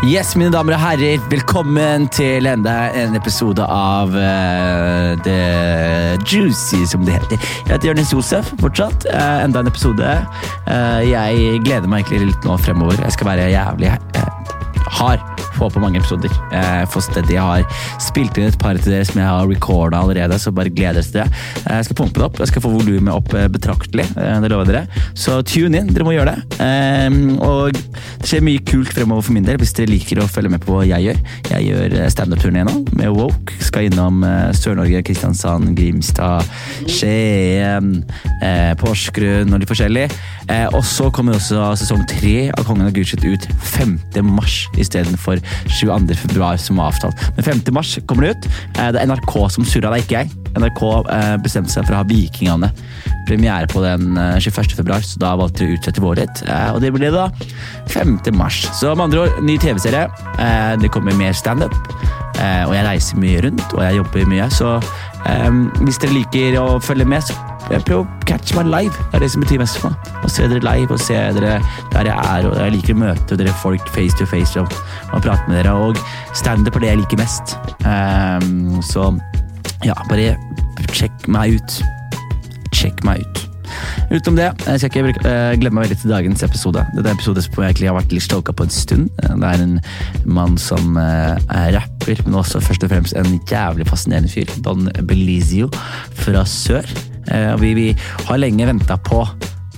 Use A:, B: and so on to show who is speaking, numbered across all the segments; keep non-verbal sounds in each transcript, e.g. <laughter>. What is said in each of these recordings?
A: Yes, mine damer og herrer, velkommen til enda en episode av eh, The Juicy, som det heter. Jeg heter Jonis Josef fortsatt. Eh, enda en episode. Eh, jeg gleder meg egentlig litt nå fremover. Jeg skal være jævlig eh, hard på på mange episoder. Eh, for steady. Jeg har spilt inn et par til dere som jeg har recorda allerede, så bare gleder dere til det. Eh, jeg skal pumpe det opp. Jeg skal få volumet opp eh, betraktelig. Eh, det lover jeg dere. Så tune inn. Dere må gjøre det. Eh, og det skjer mye kult fremover for min del, hvis dere liker å følge med på hva jeg gjør. Jeg gjør eh, standup-turné nå, med Woke. Skal innom eh, Sør-Norge, Kristiansand, Grimstad, Skien, eh, Porsgrunn og litt forskjellig. Eh, og så kommer også sesong tre av Kongen av Gulset ut 5. mars istedenfor 22. februar, som var avtalt. Men 5. mars kommer det ut. Eh, det er NRK som surra, det er ikke jeg. NRK eh, bestemte seg for å ha Vikingene premiere på den eh, 21. februar, så da valgte de å utsette vår litt. Eh, og det ble da 5. mars. Så med andre ord, ny TV-serie. Eh, det kommer mer standup. Eh, og jeg reiser mye rundt, og jeg jobber mye, så eh, hvis dere liker å følge med, så eh, prøv å catche meg live. Det er det som betyr mest for meg. Å se dere live, og se dere der jeg er, og jeg liker å møte dere folk face to face og, og prate med dere, og standup er det jeg liker mest. Eh, så ja, bare sjekk meg ut sjekk meg ut. Utenom det jeg skal ikke bruke, eh, glemme meg veldig til dagens episode. Dette er en episode som egentlig har vært litt stalka på en stund. Eh, Det er en mann som eh, er rapper, men også først og fremst en jævlig fascinerende fyr. Don Belizio fra sør. Eh, og Vi, vi har lenge venta på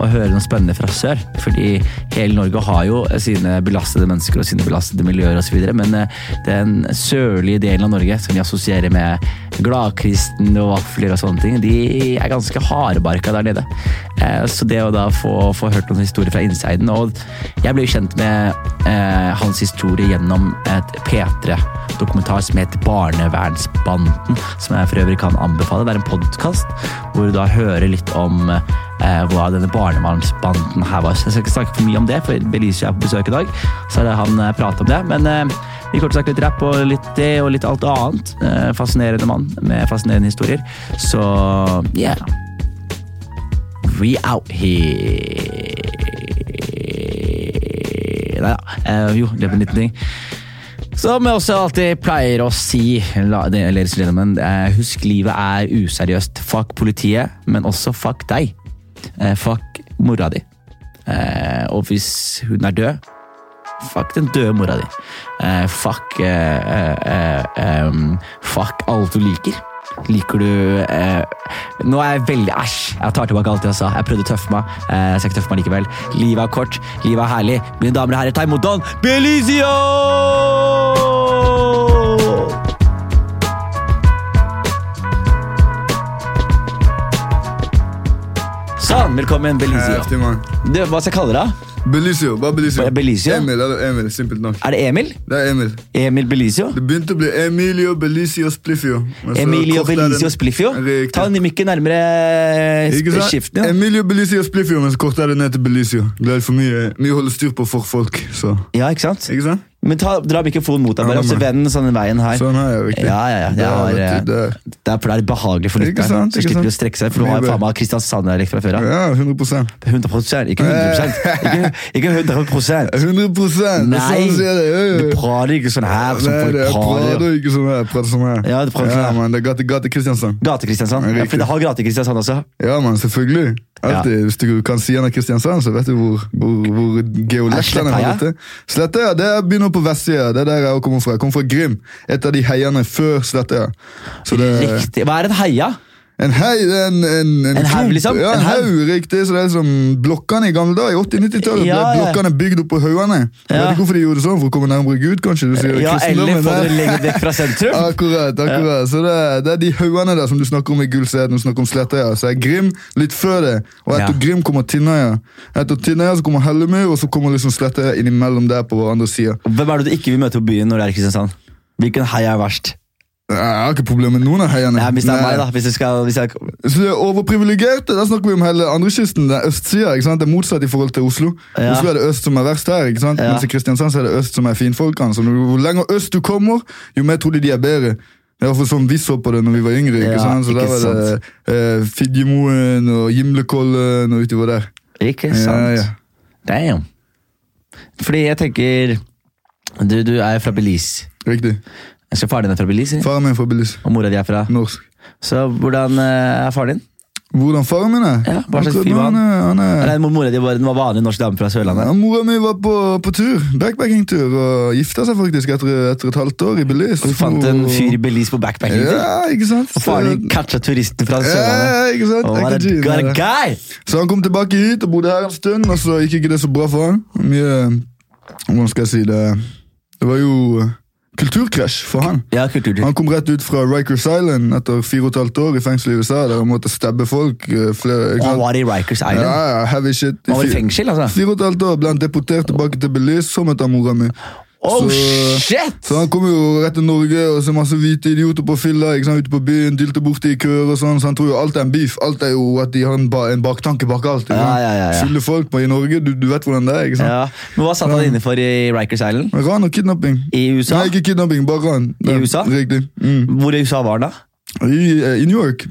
A: å høre noe spennende fra sør, fordi hele Norge har jo sine belastede mennesker og sine belastede miljøer osv., men eh, den sørlige delen av Norge som vi assosierer med gladkristen og vafler og sånne ting, de er ganske hardbarka der nede. Eh, Så det å da få, få hørt noen historier fra insiden Og jeg ble jo kjent med eh, hans historie gjennom et P3-dokumentar som heter Barnevernsbanden, som jeg for øvrig kan anbefale. Det er en podkast hvor du da hører litt om eh, hva denne barnevernsbanden her var. Så jeg skal ikke snakke for mye om det, for Belicia er på besøk i dag, så har han eh, pratet om det. Men eh, vi kort sagt litt rapp og litt det og litt alt annet. Eh, fascinerende mann med fascinerende historier. Så yeah. We out here. Nei da. Eh, jo, det ble en liten ting. Som jeg også alltid pleier å si, la- det- ladies and gentlemen, eh, husk livet er useriøst. Fuck politiet, men også fuck deg. Eh, Fuck mora di. Eh, Og hvis hun er død, fuck den døde mora di. Eh, Fuck eh, eh, eh, em, Fuck alt du liker. Liker du eh, Nå er jeg veldig Æsj! Jeg tar tilbake alt jeg sa. Jeg prøvde å tøffe meg. Eh, jeg skal ikke tøffe meg likevel. Livet er kort. Livet er herlig. Mine damer og herrer, ta imot Don Belizio! Sånn. Velkommen, Belizio.
B: Heftig, mann.
A: Du, hva skal jeg kalle deg?
B: Belicio. Bare Belicio.
A: Bare Belicio?
B: Emil, eller Emil, simpelt nok.
A: Er det Emil?
B: Det er Emil.
A: Emil Belizio?
B: Det begynte å bli Emilio Belicio Spliffio. men så
A: Emilio
B: kortet er
A: Belizio
B: den-
A: Spliffio?
B: Riktig.
A: Ta den mye nærmere
B: Ikke
A: sp-
B: sant?
A: skiften. Ja.
B: Emilio Belicio Spliffio, men så kortet er det ned til Belicio. Det er litt for mye Mye å holde styr på for folk, så
A: ja, ikke sant?
B: Ikke sant?
A: Men ta, dra mikrofonen mot deg,
B: Ja,
A: bare, og så
B: men-
A: vend den sånn den veien her.
B: Sånn er jeg, riktig.
A: Ja, ja, ja.
B: Det
A: Jeg
B: er
A: har,
B: rett, det er-
A: eh, det er, for det er behagelig for
B: Ikke
A: lytteren.
B: sant,
A: Så
B: ikke
A: slipper de å
B: sant.
A: strekke seg, for du har jo
B: Mye
A: faen meg Kristiansand-dialekt fra før av.
B: Ja, 100
A: 100 ikke
B: <laughs>
A: 100 Ikke, ikke 100
B: 100 det er
A: Nei,
B: Sånn sier det. Ja, ja.
A: du prater ikke sånn her som
B: Nei,
A: folk
B: det- jeg
A: prater.
B: prater ikke sånn her. jeg Prater sånn her.
A: Ja, du prater sånn her.
B: Ja, man, det er gate, gate Kristiansand.
A: Gate-Kristiansand. Ja, for
B: Riktig.
A: det har Gate-Kristiansand også.
B: Ja, man, selvfølgelig. Alltid. Hvis du kan si han er Kristiansand, så vet du hvor, hvor, hvor geolektene
A: Sletteheia?
B: har dette. Sletteøya det er- begynner på vestsida. Det er der jeg også kommer fra. Jeg kommer fra Grim. Et av de heiene før Sletteøya. Så det er
A: Riktig. Hva er en heia?
B: en hei, det er en En, en,
A: En haug,
B: klump.
A: liksom?
B: Ja, en,
A: En haug.
B: haug, riktig. Så det er som blokkene i gamle dager. I 80-90-tallet
A: Ja,
B: ble
A: ja.
B: blokkene bygd opp på haugene. Jeg
A: Ja.
B: Vet ikke hvorfor de gjorde det sånn, for å komme nærmere Gud, kanskje? Du sier
A: Ja, eller
B: kristendommen
A: få
B: der.
A: dere lenger vekk fra sentrum.
B: Akkurat. akkurat Så det er, det er de haugene der som du snakker om i Gullset. Du snakker om Sletøya. Så er Grim litt før det. Og
A: Ja.
B: etter Grim kommer Tinnøya. Etter Tinnøya så kommer Hellemur, og så kommer liksom Sletøya innimellom der på andre sida.
A: Hvem er det du ikke vil møte på byen når det er i Kristiansand? Hvilken hei er verst?
B: Jeg har ikke problemer med noen av heiene.
A: Nei, hvis det er
B: Nei.
A: meg, da. Hvis jeg skal, hvis jeg,
B: Så det er overprivilegerte, der snakker vi om hele andrekysten. Det er østsida. ikke sant? Det er motsatt i forhold til Oslo.
A: Ja.
B: Oslo er det øst som er verst her. ikke sant?
A: Ja.
B: Mens i Kristiansand så er det øst som er finfolkene. Så jo lenger øst du kommer, jo mer tror de de er bedre. I hvert fall sånn vi så på det når vi var yngre.
A: Ja,
B: ikke sant? Så
A: ikke
B: der var det eh, Figgjemoen og Gimlekollen og utover der.
A: ikke sant?
B: Ja, ja.
A: Damn. Fordi jeg tenker Du, du er fra Belize.
B: Riktig.
A: Så faren din er fra Belize? eller?
B: Faren min er fra Belize.
A: Og mora di er fra
B: Norsk.
A: Så hvordan eh, er faren din?
B: Hvordan faren min er?
A: Ja, hva slags
B: Han-
A: fyr var han?
B: er- han er,
A: Eller mora di var, den var vanlig norsk dame fra Sørlandet?
B: Ja, mora mi var på, på tur, backpacking-tur, og gifta seg faktisk etter, etter et halvt år i Belize.
A: Du fant en fyr i Belize på backpacking? til?
B: Ja, ikke sant?
A: Og faren din catcha turisten fra Sørlandet?
B: Ja, ikke sant?
A: Og what a
B: Ekte gin,
A: good
B: ja.
A: guy!
B: Så han kom tilbake hit og bodde her en stund, og så gikk ikke det så bra for han. Mye, hvordan skal jeg si det Det var jo eh, kulturkrasj for han.
A: Ja, kulturtur.
B: Han kom rett ut fra Rikers Island etter fire og et halvt år i fengsel i USA, der han måtte stabbe folk. eh, Flere, ikke
A: Og han
B: sant?
A: var i Rikers
B: Ja,
A: Island.
B: ja, heavy shit.
A: Han var i
B: Fi-
A: fengsel, altså.
B: Fire og et halvt år ble han deportert tilbake til Belize, så møtte han mora mi.
A: Oh,
B: så-
A: shit!
B: Så han kom jo rett til Norge, og så masse hvite idioter på fylla, ikke sant, ute på byen, dylte borti i køer og sånn, så han tror jo alt er en beef. Alt er jo at de har en, ba en baktanke bak alt. ikke
A: Ja,
B: sant?
A: ja, ja, ja.
B: Fulle folk på i Norge, du, du vet hvordan det er, ikke sant?
A: Ja. Men hva satt han inne for i Rikers Island?
B: Men Ran og kidnapping.
A: I USA?
B: Nei, ikke kidnapping, bare ran.
A: I
B: Ja,
A: USA?
B: Riktig. Mm.
A: Hvor i USA var han da?
B: I, eh, I New York.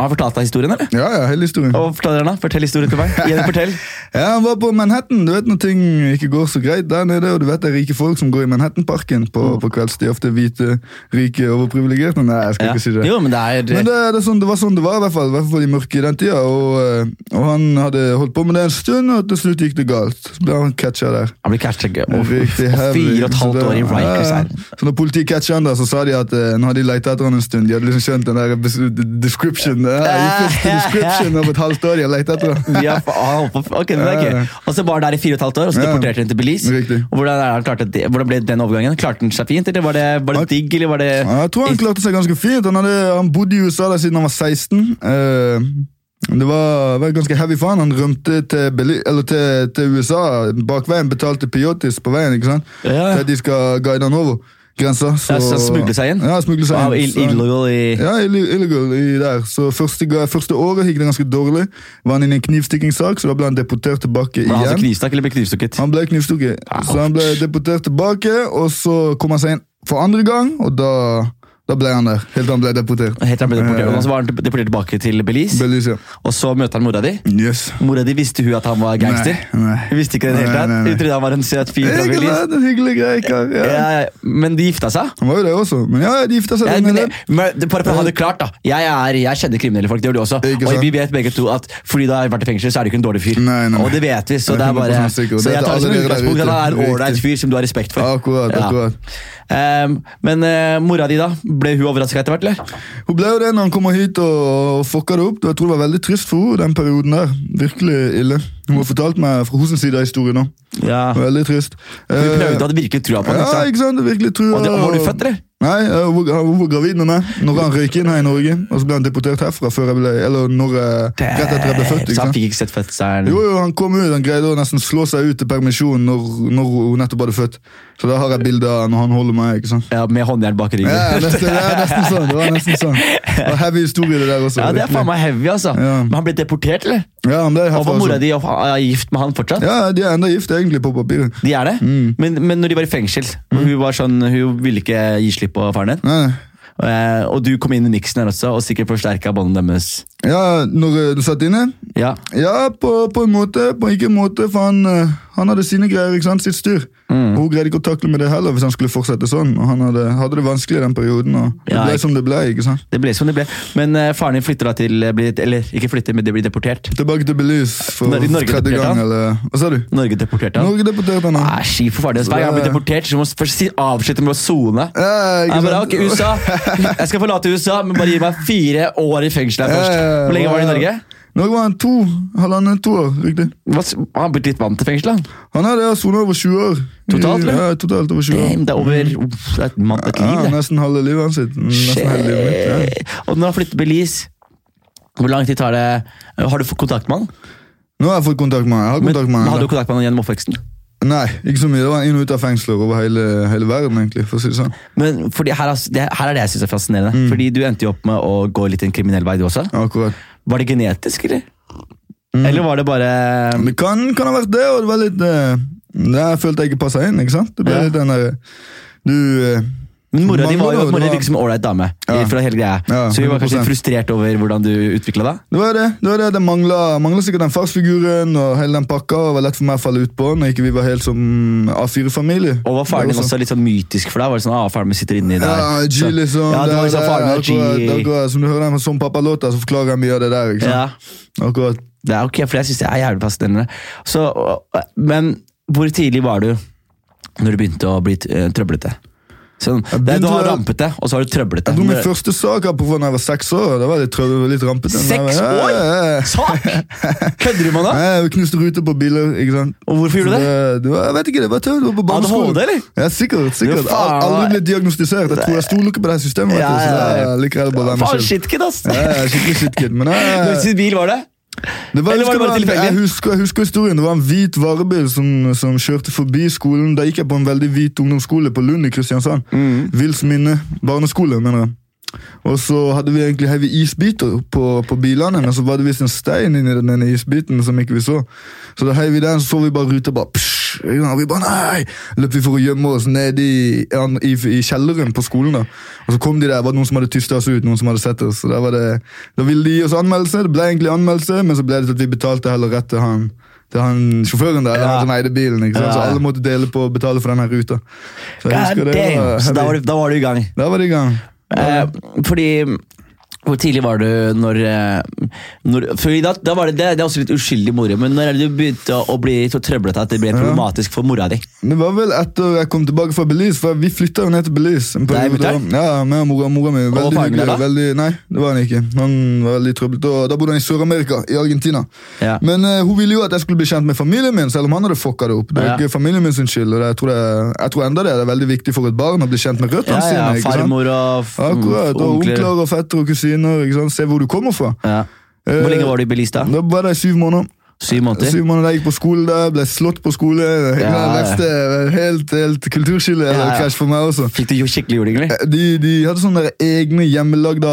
A: Og han fortalte deg historien, eller?
B: Ja, ja, hele historien.
A: Og forteller han da? Fortell historien til meg. Igjen,
B: <laughs>
A: fortell.
B: Ja, Han var på Manhattan. Du vet når ting ikke går så greit der nede. Og du vet det er rike folk som går i Manhattanparken på,
A: Mm.
B: på kveldstid. Ofte hvite, rike, overprivilegerte. Nei, jeg skal
A: Ja.
B: ikke si det.
A: Jo, men det er
B: Men det, det, er sånn, det var sånn det var, i hvert fall, i hvert fall i mørket i den tida. Og, eh, og han hadde holdt på med det en stund, og til slutt gikk det galt. Så ble han catcha der.
A: Han blir catcha gøy. Og og
B: Riktig heavy.
A: fire og et halvt
B: Så
A: år i
B: det-
A: Rikers
B: Ja, ja.
A: Island.
B: Så når politiet catcha han, da, så sa de at eh, nå har de leita etter han en stund. De hadde liksom skjønt den der bes- description. Ja, you fixed the description av et halvt år de har leita etter han.
A: Vi har fa- ah, holdt på- ok, men det er
B: Ja,
A: gøy.
B: ja.
A: Og så var han der i fire og et halvt år, og så
B: Ja.
A: deporterte han til Belize.
B: Riktig.
A: Og Hvordan, er han klarte det, hvordan ble den overgangen? Klarte han seg fint, eller var det, var det digg? Eller var det,
B: Ja, Jeg tror han klarte seg ganske fint. Han, hadde, han bodde i USA der siden han var 16. Eh, det var, var ganske heavy for han. Han rømte til, Beli- eller til, til USA bakveien, betalte peyotis på veien. ikke sant?
A: Ja.
B: Til at de skal guide han over grensa.
A: Ja, så han smuglet seg inn?
B: Ja, han smuglet seg
A: Wow,
B: inn.
A: ill-
B: Så han-
A: illegal i
B: ja, ill- illegal i der. Så første, ga- første året gikk det ganske dårlig. Var han inne i en knivstikkingssak, så da ble han deportert
A: Var
B: tilbake
A: det han som
B: igjen.
A: knivstakk, eller ble knivstukket?
B: Han ble knivstukket, så han ble deportert tilbake, og så kom han seg inn for andre gang, og da, da ble han der, helt til han Eh. ble deportert.
A: Helt til han ble deportert.
B: Ja.
A: Og så var han til- deportert tilbake til Belize,
B: Belize.
A: og så møter han mora di.
B: Yes.
A: Mora di visste hun at han var gangster.
B: Nei, nei.
A: Hun visste ikke det i det hele
B: Nei,
A: tatt.
B: nei, nei.
A: Hun trodde han var en søt fyr fra
B: Ikke
A: Belize.
B: sant, en hyggelig greie, kar. Ja.
A: Ja, ja, men de gifta seg.
B: Han var jo det også, men ja, de gifta seg.
A: Ja,
B: der
A: men,
B: nede.
A: jeg- men det- bare for å ha det klart, da. Jeg, er, jeg kjenner kriminelle folk, det gjør du også.
B: Ikke
A: Og
B: sant?
A: vi vet begge to at fordi du har vært i fengsel, så er du ikke en dårlig fyr.
B: Nei, nei, nei.
A: Og det vet vi, så
B: Jeg
A: det er
B: er
A: bare
B: 100% sikker, og
A: Så
B: det
A: jeg
B: er
A: tar det som
B: alle dere der
A: utgangspunkt at han er en
B: ute.
A: ålreit fyr som du har respekt for.
B: Akkurat,
A: Ja.
B: akkurat.
A: Ehm, men eh, mora di, da? Ble hun overraska etter hvert, eller?
B: Hun ble jo det når han kommer hit og fucka det opp. Jeg tror det var veldig trist for henne den perioden der. Virkelig ille. Hun har fortalt meg fra hennes side av historien nå.
A: Ja. Hun
B: Veldig trist.
A: Ah. prøvde, hadde virkelig trua på det.
B: Eh, Ja,
A: ikke sant?
B: ikke sant? Det er virkelig trua.
A: Og det- var du født, eller?
B: Nei, eh, hun var- hun var gravid med meg når han røyk inn her i Norge. Og så ble han deportert herfra før jeg ble, eller når jeg, rett etter jeg ble
A: Eh, så
B: født. ikke
A: han
B: sant?
A: fikk ikke sett fødselen?
B: Jo, jo, han kom ut, han greide å nesten slå seg ut til permisjon når, når hun nettopp hadde født. Så da har jeg bilder av når han holder meg, ikke sant?
A: Ja, med håndjern bak ryggen.
B: Ja, nesten, det er nesten sånn. Det var nesten sånn. Det var heavy historie det der også.
A: Ja, Det er
B: virkelig.
A: faen meg heavy, altså.
B: Ja.
A: Men han ble deportert, eller?
B: Ja, han ble herfra
A: Og var mora
B: også.
A: di og- er gift med han fortsatt?
B: Ja, Mm. de er enda gift egentlig på papiret.
A: De er det? Men, men når de var i fengsel, og
B: Mm.
A: hun, var sånn, hun ville ikke gi slipp på faren din.
B: Nei, nei.
A: Eh, og du kom inn i miksen her også, og sikkert forsterka båndet deres.
B: Ja, når eh, du satt inne?
A: Ja.
B: Ja, på, på en måte, på ikke en måte, for han, eh, han hadde sine greier, ikke sant, sitt styr.
A: Mm.
B: Og Hun greide ikke å takle med det heller hvis han skulle fortsette sånn, og han hadde, hadde det vanskelig i den perioden, og det
A: Ja,
B: ble
A: ikke-
B: som det ble, ikke sant.
A: Det ble som det ble. Men eh, faren din flytter da til blir, Eller ikke flytter, men det blir deportert.
B: Tilbake til Belize for
A: Når- i Norge
B: tredje
A: deporterte han?
B: gang, eller, hva sa du?
A: Norge deporterte han.
B: Norge deporterte han, han.
A: Ah, Skip for faren din. Hver gang han blir deportert, så må han først si- avslutte med å sone.
B: Ja,
A: Jeg
B: ikke
A: bare,
B: sant.
A: ok, USA. Jeg skal forlate USA, men bare gi meg fire år i fengsel her
B: Ja,
A: først.
B: ja, ja.
A: Hvor lenge var det i Norge?
B: Norge var han to, halvannen, to år, riktig.
A: Hva s- Han har blitt litt vant til fengsel, han.
B: Han hadde sonet over 20 år.
A: Totalt, eller?
B: Ja, totalt over 20 år.
A: Damn, det er over uff, det Mm. er et mann et liv,
B: Ja,
A: det.
B: nesten halve livet hans. sitt. Nesten hele livet mitt, ja.
A: Shit. Og når han flytter til Belize hvor lang tid tar det? Har du fått kontakt med han?
B: Nå har jeg fått kontakt med han. Jeg har
A: Men,
B: kontakt med
A: men
B: han.
A: hadde du kontakt med han gjennom oppveksten?
B: Nei, ikke så mye. Det var inn og ut av fengsler over hele, hele verden, egentlig. for å si det sånn.
A: Men fordi her, er- det, her er det jeg synes er fascinerende. Fordi du endte jo opp med å gå litt i en kriminell vei, du også.
B: Akkurat.
A: Var det genetisk, eller? Eller var det bare
B: Det kan, kan ha vært det, og det var litt eh, Det jeg følte jeg ikke passa inn, ikke sant? Det ble
A: Ja.
B: litt den der Du eh,
A: Men mora di
B: Mange
A: var jo
B: år,
A: mora di
B: det var-
A: virket som en ålreit dame.
B: Ja.
A: i- Fra hele greia.
B: Ja,
A: så vi var kanskje
B: 100%.
A: frustrert over hvordan du utvikla deg.
B: Det var det. det, var det. det mangla, mangla sikkert den farsfiguren og hele den pakka. og Det var lett for meg å falle ut på når ikke vi var helt som A4-familie.
A: Og var faren
B: Det
A: din også litt sånn mytisk for deg? Var det sånn, ah, faren min sitter inni der.
B: Ja, G,
A: Så-
B: liksom.
A: Ja, det var liksom faren min,
B: akkurat,
A: G.
B: akkurat, som du hører den Som pappa-låta, så forklarer jeg mye av det der. ikke sant?
A: Ja,
B: Akkurat.
A: det er ok, for jeg syns det er jævlig fascinerende. Så, og- og- men hvor tidlig var du når du begynte å bli eh, trøblete? Sånn, det,
B: Jeg
A: er- du
B: begynte
A: har
B: vel-
A: rampete, og så har du trøblete.
B: Jeg tror min
A: Men- eh,
B: første sak her på da jeg var seks år. Det var litt, trø- litt rampete.
A: Seks
B: Ja,
A: år?
B: ja, ja. <laughs>
A: Sak! Kødder du med meg nå?
B: Nei, Jeg knuste ruter på biler. ikke sant?
A: Og hvorfor gjorde du det?
B: det var, jeg vet ikke, det var tøft. det var på barneskolen.
A: ADHD, eller?
B: Ja, sikkert. sikkert.
A: Du, faen,
B: Aldri
A: hva-
B: blitt diagnostisert. Jeg tror jeg stoler ikke på det her systemet. vet du,
A: Ja,
B: så
A: ja, ja.
B: jeg liker heller bare å være meg
A: Faen,
B: selv.
A: shitkid, ass!
B: Ja, jeg er skikkelig
A: <laughs>
B: shitkid, men jeg,
A: Hvilken bil var det?
B: det var,
A: Eller var det bare
B: jeg, husker,
A: tilfeldig?
B: jeg, husker, jeg husker historien. Det var en hvit varebil som, som kjørte forbi skolen. Da gikk jeg på en veldig hvit ungdomsskole på Lund i Kristiansand.
A: Mm.
B: Vils Minne barneskole, mener jeg. Og så hadde vi egentlig heavy isbiter på, på bilene, men så var det visst en stein inni den ene isbiten som ikke vi så. Så da heiv vi den, så så vi bare ruta bare psh, ikke sant? Og vi bare nei! Løp vi for å gjemme oss nede i, i, i kjelleren på skolen. da. Og så kom de der, var det noen som hadde tysta oss ut, noen som hadde sett oss. Så da, var det, da ville de gi oss anmeldelse, det ble egentlig anmeldelse, men så ble det til at vi betalte heller rett til han. Til han sjåføren der,
A: Ja.
B: han som eide bilen. ikke sant?
A: Ja.
B: Så alle måtte dele på å betale for denne ruta. Så jeg husker
A: God
B: det var
A: damn! Så da var,
B: heavy.
A: du, da var du i gang.
B: Da var det i gang.
A: Eh, fordi hvor tidlig var du når, eh, når fordi da, da var det, det, det er også litt uskyldig moro, men når er det du begynte å, å bli så trøblete at det ble problematisk for mora di?
B: Det var vel etter jeg kom tilbake fra Belize, for vi flytta jo ned til Belize. en
A: Deg,
B: periode.
A: mutter'n?
B: Ja, med mora, mora mi. Veldig
A: faren din,
B: hyggelig.
A: da?
B: Veldig, nei, det var han ikke. Han var veldig trøblete. og Da bodde han i Sør-Amerika, i Argentina.
A: Ja.
B: Men eh, hun ville jo at jeg skulle bli kjent med familien min, selv om han hadde fucka det opp. Det er
A: Ja.
B: ikke familien min sin skyld, og det, jeg, tror det, jeg tror enda det er veldig viktig for et barn å bli kjent med røttene
A: Ja, ja,
B: sine. ikke sant?
A: farmor og f-
B: Akkurat, og
A: onkler.
B: Onkler og fettere og kusiner. Ikke sant? Se hvor du kommer fra.
A: Ja. Hvor lenge var du i Belize da?
B: Da var det i syv måneder.
A: Syv måneder?
B: Eh, Syv måneder, jeg gikk på skole der, ble slått på skole.
A: Ja, ja.
B: Neste, helt, helt kulturskille
A: Ja,
B: eller
A: ja.
B: krasj for meg også.
A: Fikk du jo skikkelig juling, eller?
B: De, de hadde sånne der egne hjemmelagda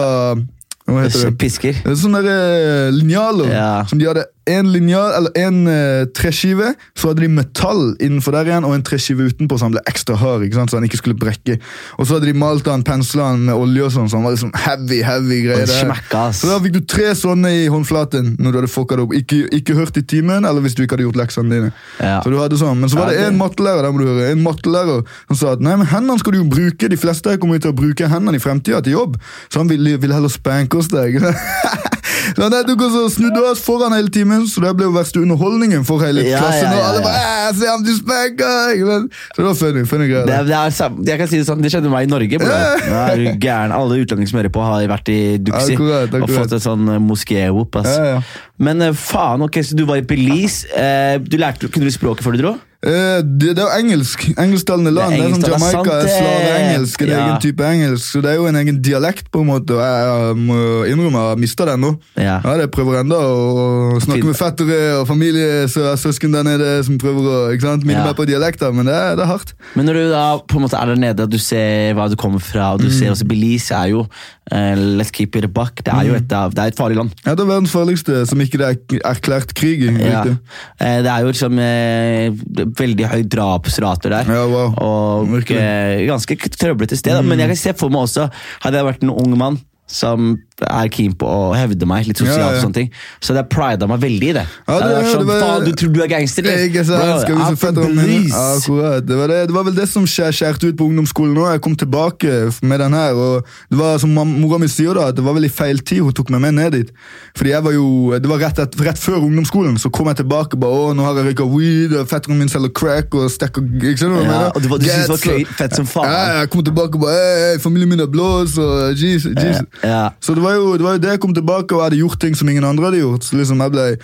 B: Hva heter det?
A: Pisker.
B: Det er Sånne der, eh, linjaler.
A: Ja.
B: Som de hadde en linjal, eller en eh, treskive, så hadde de metall innenfor der igjen, og en treskive utenpå, så han ble ekstra hard, ikke sant? så han ikke skulle brekke. Og så hadde de malt han, pensla han med olje og sånn, så han var liksom heavy, heavy greier. der.
A: Smekka, ass.
B: Så da fikk du tre sånne i håndflaten når du hadde fucka det opp. Ikke, ikke hørt i timen, eller hvis du ikke hadde gjort leksene dine.
A: Ja.
B: Så du hadde sånn, Men så var
A: Ja,
B: det
A: det-
B: en mattelærer der må du høre, en mattelærer som sa at nei, men hendene skal du jo bruke. De fleste her kommer jo til å bruke hendene i fremtida til jobb, så han ville, ville heller spanke oss der. ikke sant? <laughs> Så han der tok oss og snudde oss foran hele timen, så det ble jo verste underholdningen for hele
A: Ja,
B: klassen.
A: ja, ja,
B: og alle
A: ja.
B: bare, «Æ, se ham, du spanker! ikke sant? Så det var funny. funny greier.
A: Det,
B: da.
A: er- det er, sam- jeg kan si det sånn, det skjedde med meg i Norge. bror. Ja, er du gæren. Alle utlendinger som hører på, har vært i Duxi
B: Akkurat, akkurat.
A: og fått et sånn eh, moské-whoop. ass.
B: Ja, ja.
A: Men eh, faen, ok, så du var i Belize. Eh, du lærte, kunne du språket før du dro?
B: Eh, det, det er jo engelsk. Engelsktalende land. Det er,
A: engelsk,
B: sånn
A: det er sant,
B: Jamaica er
A: det.
B: slaveengelsk. En
A: Ja.
B: egen type engelsk. Så det er jo en egen dialekt, på en måte. Og jeg, jeg må innrømme jeg har mista den nå.
A: Ja.
B: Ja, det prøver enda å snakke
A: Fin-
B: med fettere og familie så jeg har søsken der nede som prøver å ikke sant, minne
A: Ja.
B: meg på dialekter, men det er, det er hardt.
A: Men når du da på en måte er der nede, at du ser hva du kommer fra, og du
B: Mm.
A: ser også Belize er jo eh, Let's keep it a buck. Det
B: Mm.
A: er jo et, av- det er et farlig land.
B: Ja, det er verdens farligste som ikke det er erklært krig i.
A: Ja.
B: riktig.
A: Eh, Det er jo liksom eh, veldig høy drapsrater der.
B: Ja, wow.
A: Og
B: Virkelig.
A: eh, ganske k- trøblete sted. da. Men
B: Mm.
A: jeg kan se for meg også, hadde jeg vært en ung mann som er keen på å hevde meg litt sosialt,
B: Ja, ja.
A: og sånne ting, så hadde jeg prida meg veldig i det.
B: Ja,
A: Jeg hadde
B: det-
A: vært sånn,
B: det var-
A: Faen, du tror du er gangster, eller?
B: Ikke sant?
A: Bro,
B: Skal vi
A: I'm
B: se
A: from
B: fetteren min?
A: Belize.
B: Akkurat. Det var, det. det var vel det som skjær, skjærte ut på ungdomsskolen nå. Jeg kom tilbake med den her, og det var som mam- mora mi sier da, at det var vel i feil tid hun tok meg med ned dit. Fordi jeg var jo, det var rett, et, rett før ungdomsskolen, så kom jeg tilbake og bare, å, nå har jeg røyka weed, og fetteren min selger crack, og stekker, ikke sant? hva jeg
A: Ja,
B: mener?
A: og du, var- du syntes det var
B: Gets, og-
A: køy, fett som faen.
B: ja, ja, jeg kom tilbake og bare «Ei, ei, Familien min er blås og jeez, jeez.
A: ja.
B: Så det var, jo, det var jo det jeg kom tilbake og jeg hadde gjort ting som ingen andre hadde gjort. Så liksom jeg ble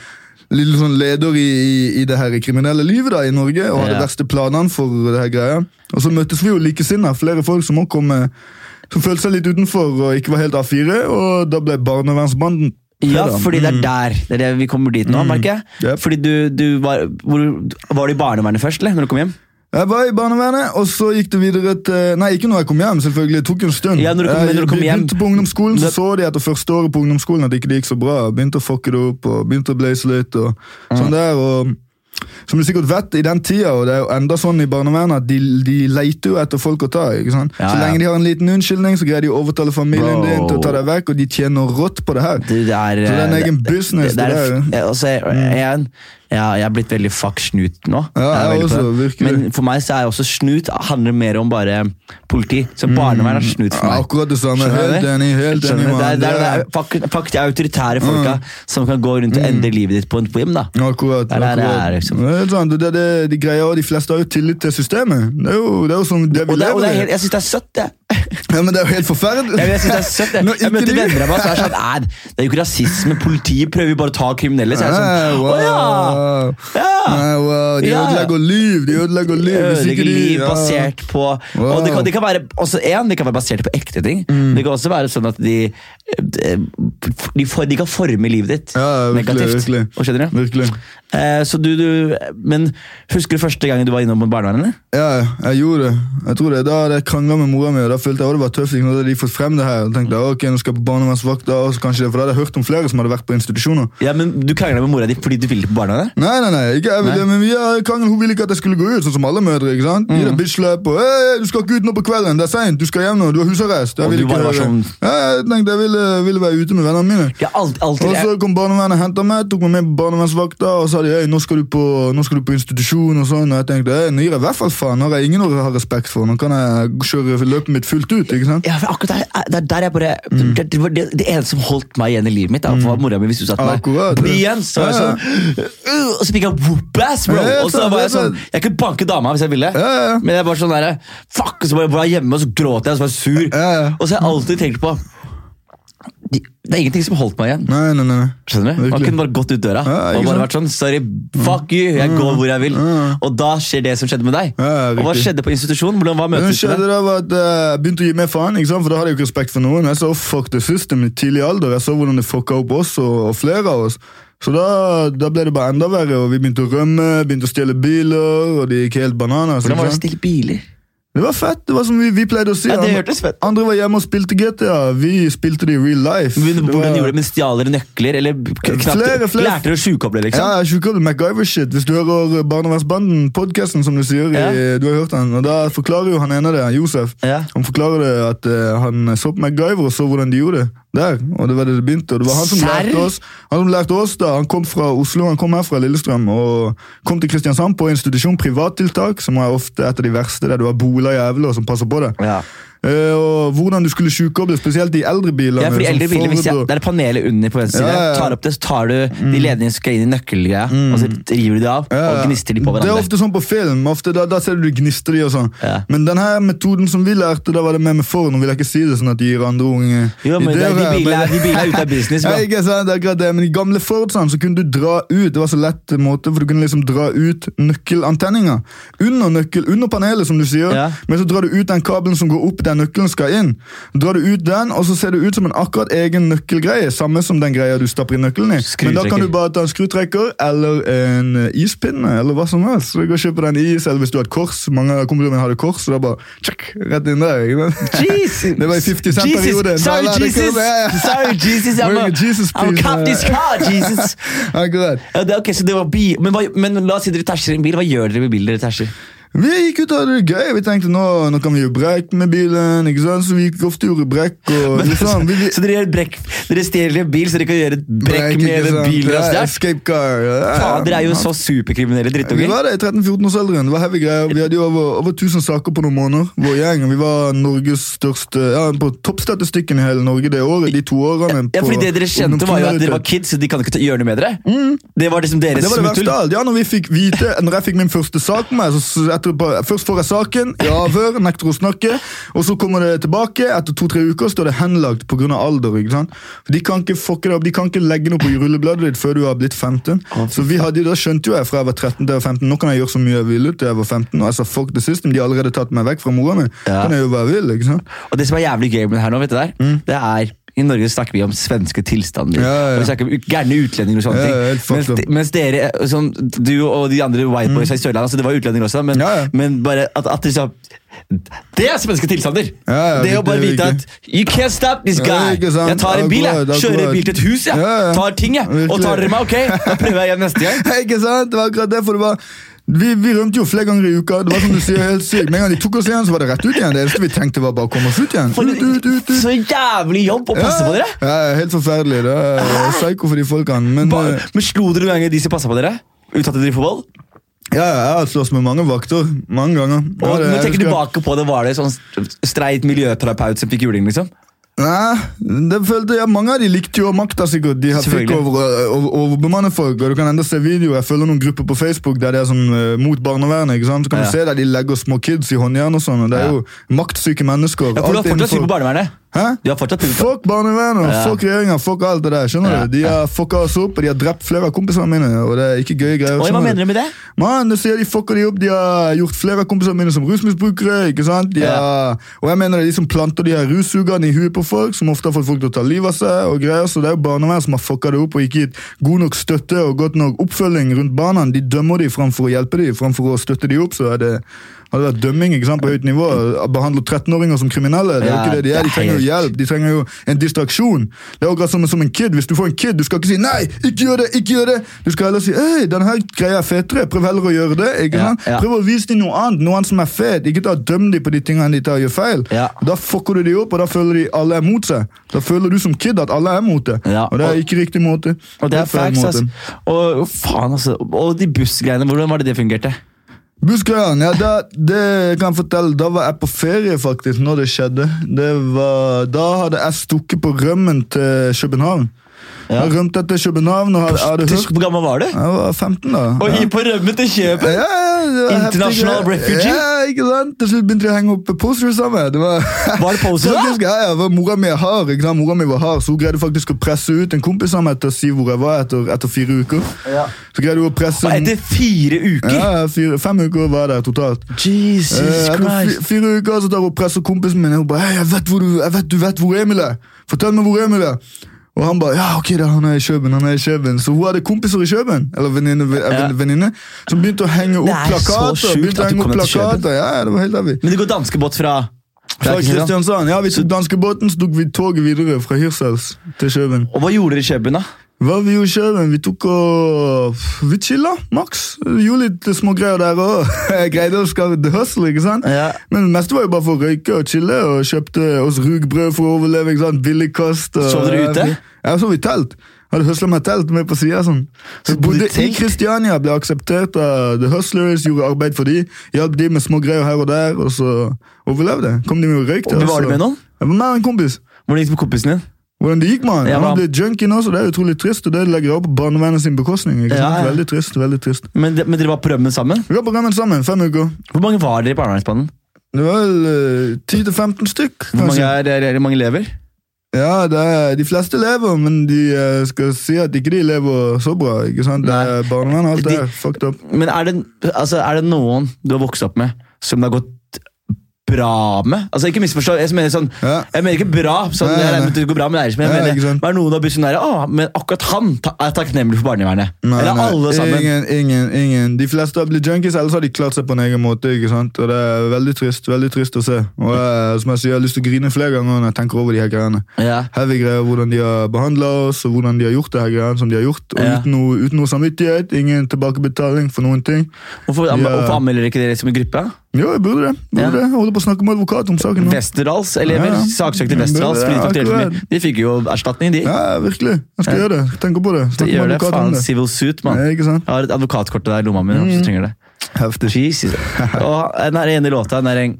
B: litt sånn leder i, i, i det her kriminelle livet da i Norge og hadde
A: Ja.
B: verste planene for det her greia. Og så møttes vi jo likesinnede, flere folk som også kom eh, som følte seg litt utenfor og ikke var helt A4, og da ble barnevernsbanden
A: Ja,
B: fredag.
A: fordi det er der det er det vi kommer dit nå, merker jeg.
B: Mm. Yep.
A: Fordi du, du var, hvor, var du i barnevernet først, eller? Når du kom hjem?
B: Jeg var i barnevernet, og så gikk det videre til Nei, ikke når jeg kom hjem, selvfølgelig. Det tok en stund.
A: Ja, når du kom-
B: Jeg
A: men når du kom hjem-
B: begynte på ungdomsskolen, så
A: Det-
B: så de etter første
A: Mm.
B: året på ungdomsskolen at det ikke gikk så bra. Begynte å fucke det opp, og begynte å blaze litt og sånn der. og... som du sikkert vet, i den tida, og det er jo enda sånn i barnevernet, at de, de leter jo etter folk å ta. ikke sant?
A: Ja,
B: så
A: ja.
B: lenge de har en liten unnskyldning, så greier de å overtale familien
A: Bro.
B: din til å ta deg vekk, og de tjener rått på det her.
A: Det er, eh,
B: Så det er en egen
A: det-
B: business,
A: Det, det er,
B: det Mm.
A: eh, altså, jeg- igjen, ja, jeg er blitt veldig fuck snut nå.
B: Ja,
A: Jeg er
B: jeg
A: veldig på
B: også,
A: det.
B: virkelig.
A: Men for meg så er også snut handler mer om bare politi. Så barnevern er snut for
B: Mm. Ja,
A: meg.
B: akkurat det samme.
A: Skjønner
B: Helt
A: du?
B: enig. helt
A: Skjønner du? Det er,
B: enig, mann. Mm.
A: det er, det er, fuck, fuck de autoritære folka som kan gå rundt og endre livet ditt på en whim. da.
B: Akkurat.
A: Det er der det
B: akkurat.
A: er, liksom.
B: Det er helt sant, og det er det de greier, og de fleste har jo tillit til systemet. Det er jo, det er jo sånn det vi
A: Og, det, og det er
B: lever
A: helt,
B: i.
A: jeg syns det er søtt, det. <laughs>
B: Ja, men det er jo helt forferdelig.
A: Jeg, jeg, synes det er søtt, jeg.
B: Når
A: jeg
B: ikke
A: møter
B: de-
A: venner av meg som er sånn "Nei, Det er jo ikke rasisme, politiet prøver jo bare å ta kriminelle. Så jeg er
B: Nei,
A: sånn,
B: wow.
A: å ja, ja.
B: Nei, wow. De
A: Ja.
B: ødelegger liv! De ødelegger liv! Hvis
A: Ødelegge
B: ikke de-
A: liv
B: ja.
A: basert på Og det kan, det kan være også en, det kan være basert på ekte ting.
B: Mm.
A: Men det kan også være sånn at de eh, De, for, de kan forme livet ditt
B: Ja, virkelig,
A: negativt.
B: virkelig.
A: Og skjønner du?
B: Virkelig.
A: Eh, så du, du Men husker du første gangen du var innom barnevernet?
B: Ja, jeg gjorde det. Jeg tror det. Da hadde jeg krangla med mora mi, og da følte jeg at det var tøft. Ikke? sant? Da hadde de fått frem det her. Og tenkte jeg, ok, nå skal jeg på barnevernsvakta, og så kanskje det, for da hadde jeg hørt om flere som hadde vært på institusjoner.
A: Ja, men Du krangla med mora di fordi du ville på barnevernet?
B: Nei, nei, nei, ikke jeg ville,
A: Nei.
B: men vi har krangel, hun ville ikke at jeg skulle gå ut, sånn som alle mødre. ikke sant? Gi
A: Mm.
B: deg bitchlap og «Hei, du skal ikke ut nå på kvelden, det er seint, du skal hjem nå, du har husarrest. Jeg
A: Og
B: vil
A: du
B: ikke
A: bare var
B: høre.
A: sånn-
B: Ja, jeg tenkte jeg ville, ville være ute med vennene mine.
A: Jeg har alt- alltid
B: Og så kom barnevernet og henta meg, tok meg med på barnevernsvakta og sa de, «Hei, nå, skal du på, nå skal du på institusjon. Og sånn, og jeg tenkte «Hei, nå gir jeg i hvert fall faen. Nå har jeg ingen å ha respekt for. Nå kan jeg kjøre løpet mitt fullt ut. ikke sant?
A: Ja, for akkurat der, der, der jeg bare
B: Mm.
A: det, det, var det, det eneste som holdt meg igjen i livet mitt, da, var mora mi. hvis hun satt meg
B: Akkurat, det.
A: Bli igjen! Så var jeg
B: Ja, ja.
A: sånn, «Øh», og så fikk jeg whoop-ass, bro!
B: Ja, jeg
A: Og så
B: vet
A: var
B: det,
A: jeg sånn, jeg kunne banke dama hvis jeg ville,
B: Ja, ja.
A: men jeg var sånn der, fuck! Og så bare var jeg hjemme og så gråt jeg og så var jeg sur.
B: ja.
A: Og så har jeg alltid tenkt på de- Det er ingenting som holdt meg igjen.
B: Nei, nei, nei. nei.
A: Skjønner du? Man
B: Virkelig.
A: kunne bare gått ut døra
B: Ja, ikke
A: og bare
B: sant? Mm.
A: vært sånn Sorry, fuck you! Jeg går hvor jeg vil. Og da skjer det som skjedde med deg.
B: Ja,
A: og hva
B: riktig.
A: skjedde på institusjon? Hvordan var
B: Det
A: møtet?
B: som
A: ditt med deg?
B: skjedde da var at eh, Jeg begynte å gi mer faen, ikke sant? for da hadde jeg jo ikke respekt for noen. Jeg så fuck the system i tidlig alder. Jeg så hvordan det fucka opp oss og, og flere av oss. Så da, da ble det bare enda verre, og vi begynte å rømme, begynte å stjele biler, og det gikk helt bananas.
A: Hvordan
B: ikke
A: var det å
B: sant?
A: stille biler?
B: Det var fett, det var som vi, vi pleide å si.
A: Ja, det
B: Andre-
A: hørtes fett ut.
B: Andre var hjemme og spilte GTA, vi spilte det i real life.
A: Men
B: Det
A: hvordan
B: var-
A: gjorde det? Men stjal dere nøkler? Eller k- knapt,
B: Flere, flere.
A: Lærte dere å tjukoble, liksom?
B: Ja, jeg tjukkoble MacGyver-shit. Hvis du hører Barnevernsbanden, podcasten som du sier,
A: Ja.
B: i, du har hørt den, og da forklarer jo han ene det, Josef.
A: Ja.
B: Han forklarer det at eh, han så på MacGyver og så hvordan de gjorde det. Der, og det var det det begynte. Og det var han som
A: Serr?
B: lærte oss. Han som lærte oss da, han kom fra Oslo, han kom her fra Lillestrøm, og kom til Kristiansand på institusjon privattiltak, som er ofte et av de verste, der du har bola jævler som passer på deg.
A: Ja.
B: Eh, og hvordan du skulle tjukkoble, spesielt de eldre bilene.
A: Ja, for de
B: som
A: eldre biler, hvis jeg,
B: Ford og-
A: Det er panelet under på venstre
B: Ja,
A: side.
B: ja, ja.
A: Tar opp det, så tar du de ledningene som skal inn i nøkkelgreia, og så river du det av.
B: Ja,
A: Og
B: ja.
A: gnister de på
B: Det er
A: hverandre.
B: ofte sånn på film. Ofte da, da ser du de gnister de og sånn.
A: Ja.
B: Men denne metoden som vi lærte, da var det med med foran. Nå vil jeg ikke si det sånn at de gir andre unge
A: Jo, men det,
B: ideer.
A: de
B: her,
A: bilene
B: men-
A: de bilene er ute av business,
B: <laughs> ja,
A: bro.
B: ikke sant, det er akkurat det, men I gamle Fordene så kunne du dra ut Det var så lett eh, måte, for du kunne liksom dra ut nøkkelantenninga. Under nøkkel, under panelet, som du sier.
A: Ja.
B: Men så drar du ut den kabelen som går opp der nøkkelen skal inn. Drar du ut den, og så ser det ut som en akkurat egen nøkkelgreie. Samme som den greia du stapper inn nøkkelen i. Men da
A: Skrutrekker.
B: kan du bare ta en skrutrekker eller en eh, ispinne eller hva som helst. Så du kan kjøpe den is, eller hvis du har et kors. Mange av kompisene mine hadde kors, så da bare tjekk, rett inn der. ikke sant?
A: Jesus!
B: Det var i 50 cent
A: Jesus!
B: perioden.
A: Sorry,
B: Da la det
A: Jesus!
B: kurve, ja, ja.
A: Sorry, Jesus! I'm a,
B: Wait, Jesus,
A: I'm a
B: please,
A: cop this
B: ja. <laughs>
A: car, Jesus!
B: <laughs> Akkurat.
A: Ja, det, ok, så det var bi men, hva, men la oss si dere tæsjer i en bil. Hva gjør dere med bilen dere tæsjer?
B: Vi gikk ut og hadde det gøy. Vi tenkte nå, nå kan vi gjøre brekk med bilen. ikke sant? Så vi gikk ofte og gjorde brekk. og
A: Men,
B: liksom, vi, vi,
A: <laughs> så dere, gjør et brekk, dere stjeler en bil, så dere kan gjøre et brekk
B: ikke
A: med en
B: sant?
A: bil dere har
B: Ja,
A: stjålet?
B: Escape car. ja.
A: Faen, dere er jo så superkriminelle
B: Vi
A: drittunger.
B: var det i 13-14-årsalderen. Det var heavy greier. Vi hadde jo over, over 1000 saker på noen måneder. Vår gjeng, Vi var Norges største, ja, på toppstatistikken i hele Norge det året. de to årene.
A: Ja,
B: på
A: fordi Det dere kjente, var jo at dere var
B: ungdomskriminalitet.
A: kids, så de kan ikke ta- gjøre noe med dere. Det var liksom deres
B: Det var det verste
A: smutthull.
B: av alt. Mm. Ja, når vi fikk vite Når jeg fikk min første sak på meg, så s- etter, på- først får jeg saken, i avhør, nekter å snakke, og så kommer det tilbake. Etter to-tre uker står det henlagt pga. alder. ikke sant? For De kan ikke fucke det opp, de kan ikke legge noe på rullebladet ditt før du har blitt 15. Så vi hadde jo, Da skjønte jo jeg fra jeg var 13 til jeg var 15 nå kan jeg gjøre så mye jeg ville til jeg var 15. Og jeg sa fuck the system, de har allerede tatt meg vekk fra mora mi.
A: Ja.
B: Kan jeg gjøre hva jeg vil, ikke sant?
A: Og det som er jævlig gøy med det her nå, vet du der, det er I Norge snakker vi om svenske tilstander.
B: Mm. Ja, ja, ja.
A: Og vi snakker om ut- gærne utlendinger og sånne
B: Ja, ja, helt
A: ting. Mens,
B: fucked
A: de-
B: up. Mm.
A: mens dere, eh, sånn, du og de andre white boysa i Sørlandet, altså det var utlendinger også, men,
B: Ja, ja.
A: men bare at, at de sa Det er svenske tilstander!
B: Ja, ja,
A: det å
B: det-
A: bare
B: det
A: vite
B: er
A: at You can't stop this
B: Ja,
A: guy!
B: ikke sant.
A: jeg tar en bil, jeg.
B: Alkohol,
A: Kjører en
B: alkohol.
A: bil til et hus, jeg.
B: Ja, ja.
A: Tar ting, jeg. Og
B: Virkelig.
A: tar dere meg, ok? Da prøver jeg igjen neste gang.
B: <laughs> Ikke sant? Det var akkurat det, for det var vi, vi rømte jo flere ganger i uka. Det var som du sier, helt sykt. Med en gang de tok oss igjen, så var det rett ut igjen. Det eneste vi tenkte, var bare å komme oss ut igjen.
A: For
B: Ut, ut, ut, ut.
A: Så jævlig jobb å passe på dere! Ah.
B: Ja, ja, helt forferdelig. Det er psyko for de folkene. Men
A: Ba,
B: eh,
A: men Slo dere noen ganger de som passa på dere? Uten at dere driver fotball?
B: ja, ja, jeg har slåss med mange vakter. Mange ganger.
A: Og
B: Ja, det-
A: når du
B: jeg
A: tenker
B: husker-
A: tilbake på det, var det sånn streit miljøterapeut som fikk juling, liksom?
B: Nei, det følte jeg Mange av de likte jo makta, sikkert. De har fikk
A: Selvfølgelig.
B: over, eh, over, overbemanne folk. Og du kan enda se videoer. Jeg følger noen grupper på Facebook der det er sånn eh, mot barnevernet. ikke sant? Så kan
A: Ja.
B: du se der de legger små kids i håndjern og sånn. og Det er
A: Ja.
B: jo maktsyke mennesker.
A: Ja, for du har
B: alt
A: fortsatt synd på
B: innenfor-
A: barnevernet.
B: Hæ?
A: Du har fortsatt synd på
B: Fuck barnevernet,
A: Ja.
B: fuck regjeringa, fuck alt det der. skjønner
A: Ja,
B: du? De har fucka oss opp, og de har drept flere av kompisene mine. og det er ikke gøye greier.
A: Oi, hva
B: skjønner
A: mener du med det?
B: Man, nå sier de fucker de opp. De har gjort flere av kompisene mine som rusmisbrukere. ikke sant? De
A: Ja.
B: har, og jeg mener det er de som planter de her russugerne i huet på folk, som ofte har fått folk til å ta livet av seg. og greier, Så det er jo barnevernet som har fucka det opp og ikke gitt god nok støtte og godt nok oppfølging rundt barna. De dømmer de framfor å hjelpe de, framfor å støtte de opp. så er det... Hadde det vært dømming ikke sant, på høyt nivå, behandle 13-åringer som kriminelle. Det er jo
A: Ja,
B: ikke det de er.
A: det
B: De
A: er
B: trenger jo
A: helt-
B: hjelp, de trenger jo en distraksjon. Det er akkurat som, som en kid. Hvis du får en kid, du skal ikke si 'nei, ikke gjør det', ikke gjør det. Du skal heller si 'hei, den her greia er fetere, prøv heller å gjøre det'. ikke
A: Ja,
B: sant?
A: ja.
B: Prøv å vise dem noe annet, noe annet som er fet. Ikke ta døm dem på de tingene de tar og gjør feil.
A: Ja.
B: Da fucker du de opp, og da føler de alle er mot seg. Da føler du som kid at alle er mot deg.
A: Ja,
B: Og det er
A: og-
B: ikke riktig måte.
A: Og det er
B: Helt feil
A: facts,
B: måte.
A: altså. Og, faen, altså. og de bussgreiene, hvordan var det det fungerte?
B: Buskøyen, ja, da, det kan jeg fortelle, da var jeg på ferie faktisk når det skjedde. Det var, da hadde jeg stukket på rømmen til København.
A: Ja.
B: Jeg rømte til København og hadde, jeg hadde hørt.
A: Hvor gammel var du?
B: Jeg var 15 da.
A: Og
B: Ja.
A: i på rømmen til Kjøpen!
B: Ja, ja, det var heftig
A: International
B: greier.
A: refugee?
B: Ja, ikke sant? Til slutt begynte de å henge opp posters sammen. Det var,
A: Var det poser, da?
B: Faktisk, Ja, ja, var mora mi er hard, ikke sant? Mora mi var hard, så hun greide faktisk å presse ut en kompis av meg til å si hvor jeg var etter, etter fire uker.
A: Ja.
B: Så greide hun å presse...
A: Og etter fire uker!
B: Ja, fire, fem uker var jeg der totalt.
A: Jesus
B: Eh, etter fi-
A: Christ!
B: Fire uker så tar hun press og kompisen min Hun bare, «Hei, jeg vet hvor du, jeg vet, du vet hvor Emil er Fortell meg hvor Emil er Og han bare, ja ok da, han er i Kjøben, han er i Kjøben Så hun hadde kompiser i Kjøben Eller venninne, ve- eh,
A: Ja.
B: venninne Som begynte å henge opp
A: Det er så
B: plakater
A: sjukt
B: Begynte
A: at
B: å
A: du
B: henge
A: kom
B: opp
A: til Kjøben.
B: plakater Ja, ja, det var helt avig
A: Men det går danskebåt fra
B: Fra
A: fra Kristiansand.
B: Kristiansand, ja, vi tok danskebåten Så tok vi toget videre fra Hirsels til Kjøben
A: Og hva gjorde dere i Kjøpen, da?
B: Hva vi gjorde i Kjøben? Vi tok og Vi chilla, maks Gjorde litt små greier der også <laughs> Jeg greide å skaffe the hustle, ikke sant?
A: Ja.
B: Men det meste var jo bare for å røyke og chille, og kjøpte oss rugbrød for å overleve. ikke sant? Billig kost. Og,
A: Sov dere ute?
B: Jeg sov i telt. Hadde høsla meg telt med på sida. Sånn. Så
A: Så bodde i
B: bodde i
A: telt?
B: Kristiania, ble akseptert av The Hustlers, gjorde arbeid for de, hjalp de med små greier her og der, og så overlevde jeg. Kom de med og røykte.
A: Men
B: og
A: var
B: så-
A: du med noen?
B: Jeg var med en kompis.
A: Hvordan gikk det med kompisen din?
B: Hvordan det gikk, mann.
A: Ja,
B: Han har
A: men-
B: blitt junkie nå, så det er utrolig trist. Og det legger jeg opp på barnevernet sin bekostning. ikke
A: Ja,
B: sant?
A: ja.
B: Veldig trist, veldig trist.
A: Men, men dere var på rømmen sammen?
B: Vi var på gammen sammen, fem uker.
A: Hvor mange var dere i barnevernsbanen?
B: Det var vel eh, 10-15 stykk,
A: Hvor mange,
B: kanskje.
A: er, er, er, mange lever?
B: Ja, det er, de fleste lever, men de eh, skal si at ikke de lever så bra. ikke sant? Det
A: Nei.
B: er Barnevernet og alt det
A: De-
B: er fucked up.
A: Men er det, altså, er det noen du har vokst opp med, som det har gått bra med? Altså, ikke misforstå. Jeg mener, sånn,
B: Ja.
A: jeg mener ikke bra, sånn,
B: Nei,
A: jeg
B: nei.
A: regner med at det går bra med deg, men jeg
B: Nei, ikke
A: mener,
B: sant.
A: er det noen av bussen sånn der, «Å, men akkurat han ta, er takknemlig for barnevernet.
B: Nei,
A: Eller
B: nei,
A: alle sammen.
B: Ingen, ingen, ingen. De fleste har blitt junkies, ellers har de klart seg på en egen måte. ikke sant? Og Det er veldig trist veldig trist å se. Og jeg, som jeg sier, jeg har lyst til å grine flere ganger når jeg tenker over de her greiene.
A: Ja.
B: Heavy greier, Hvordan de har behandla oss, og hvordan de har gjort det her greiene som de har gjort. Og
A: Ja.
B: uten, noe, uten noe samvittighet, ingen tilbakebetaling for noen ting.
A: Hvorfor,
B: Ja.
A: hvorfor anmelder dere ikke dere som en gruppe?
B: Jo, jeg burde det. Burde
A: Ja.
B: det. Jeg holder på å snakke med advokat om saken nå.
A: Vesterdals elever
B: Ja, ja.
A: saksøkte
B: Men det-
A: Vesterdals fordi de tok
B: ja,
A: delt for
B: akkurat.
A: mye. De fikk jo erstatning, de.
B: Ja, virkelig. Jeg skal
A: Ja.
B: gjøre det. Tenker på det.
A: de
B: Snakker
A: gjør
B: med
A: det,
B: advokat om
A: faen.
B: det.
A: Civil suit, mann.
B: Ja, ikke sant?
A: Jeg har et advokatkort der i lomma mi.
B: Mm.
A: hvis du trenger det.
B: Heftig.
A: Jesus. <laughs> Og den her ene låta, den er en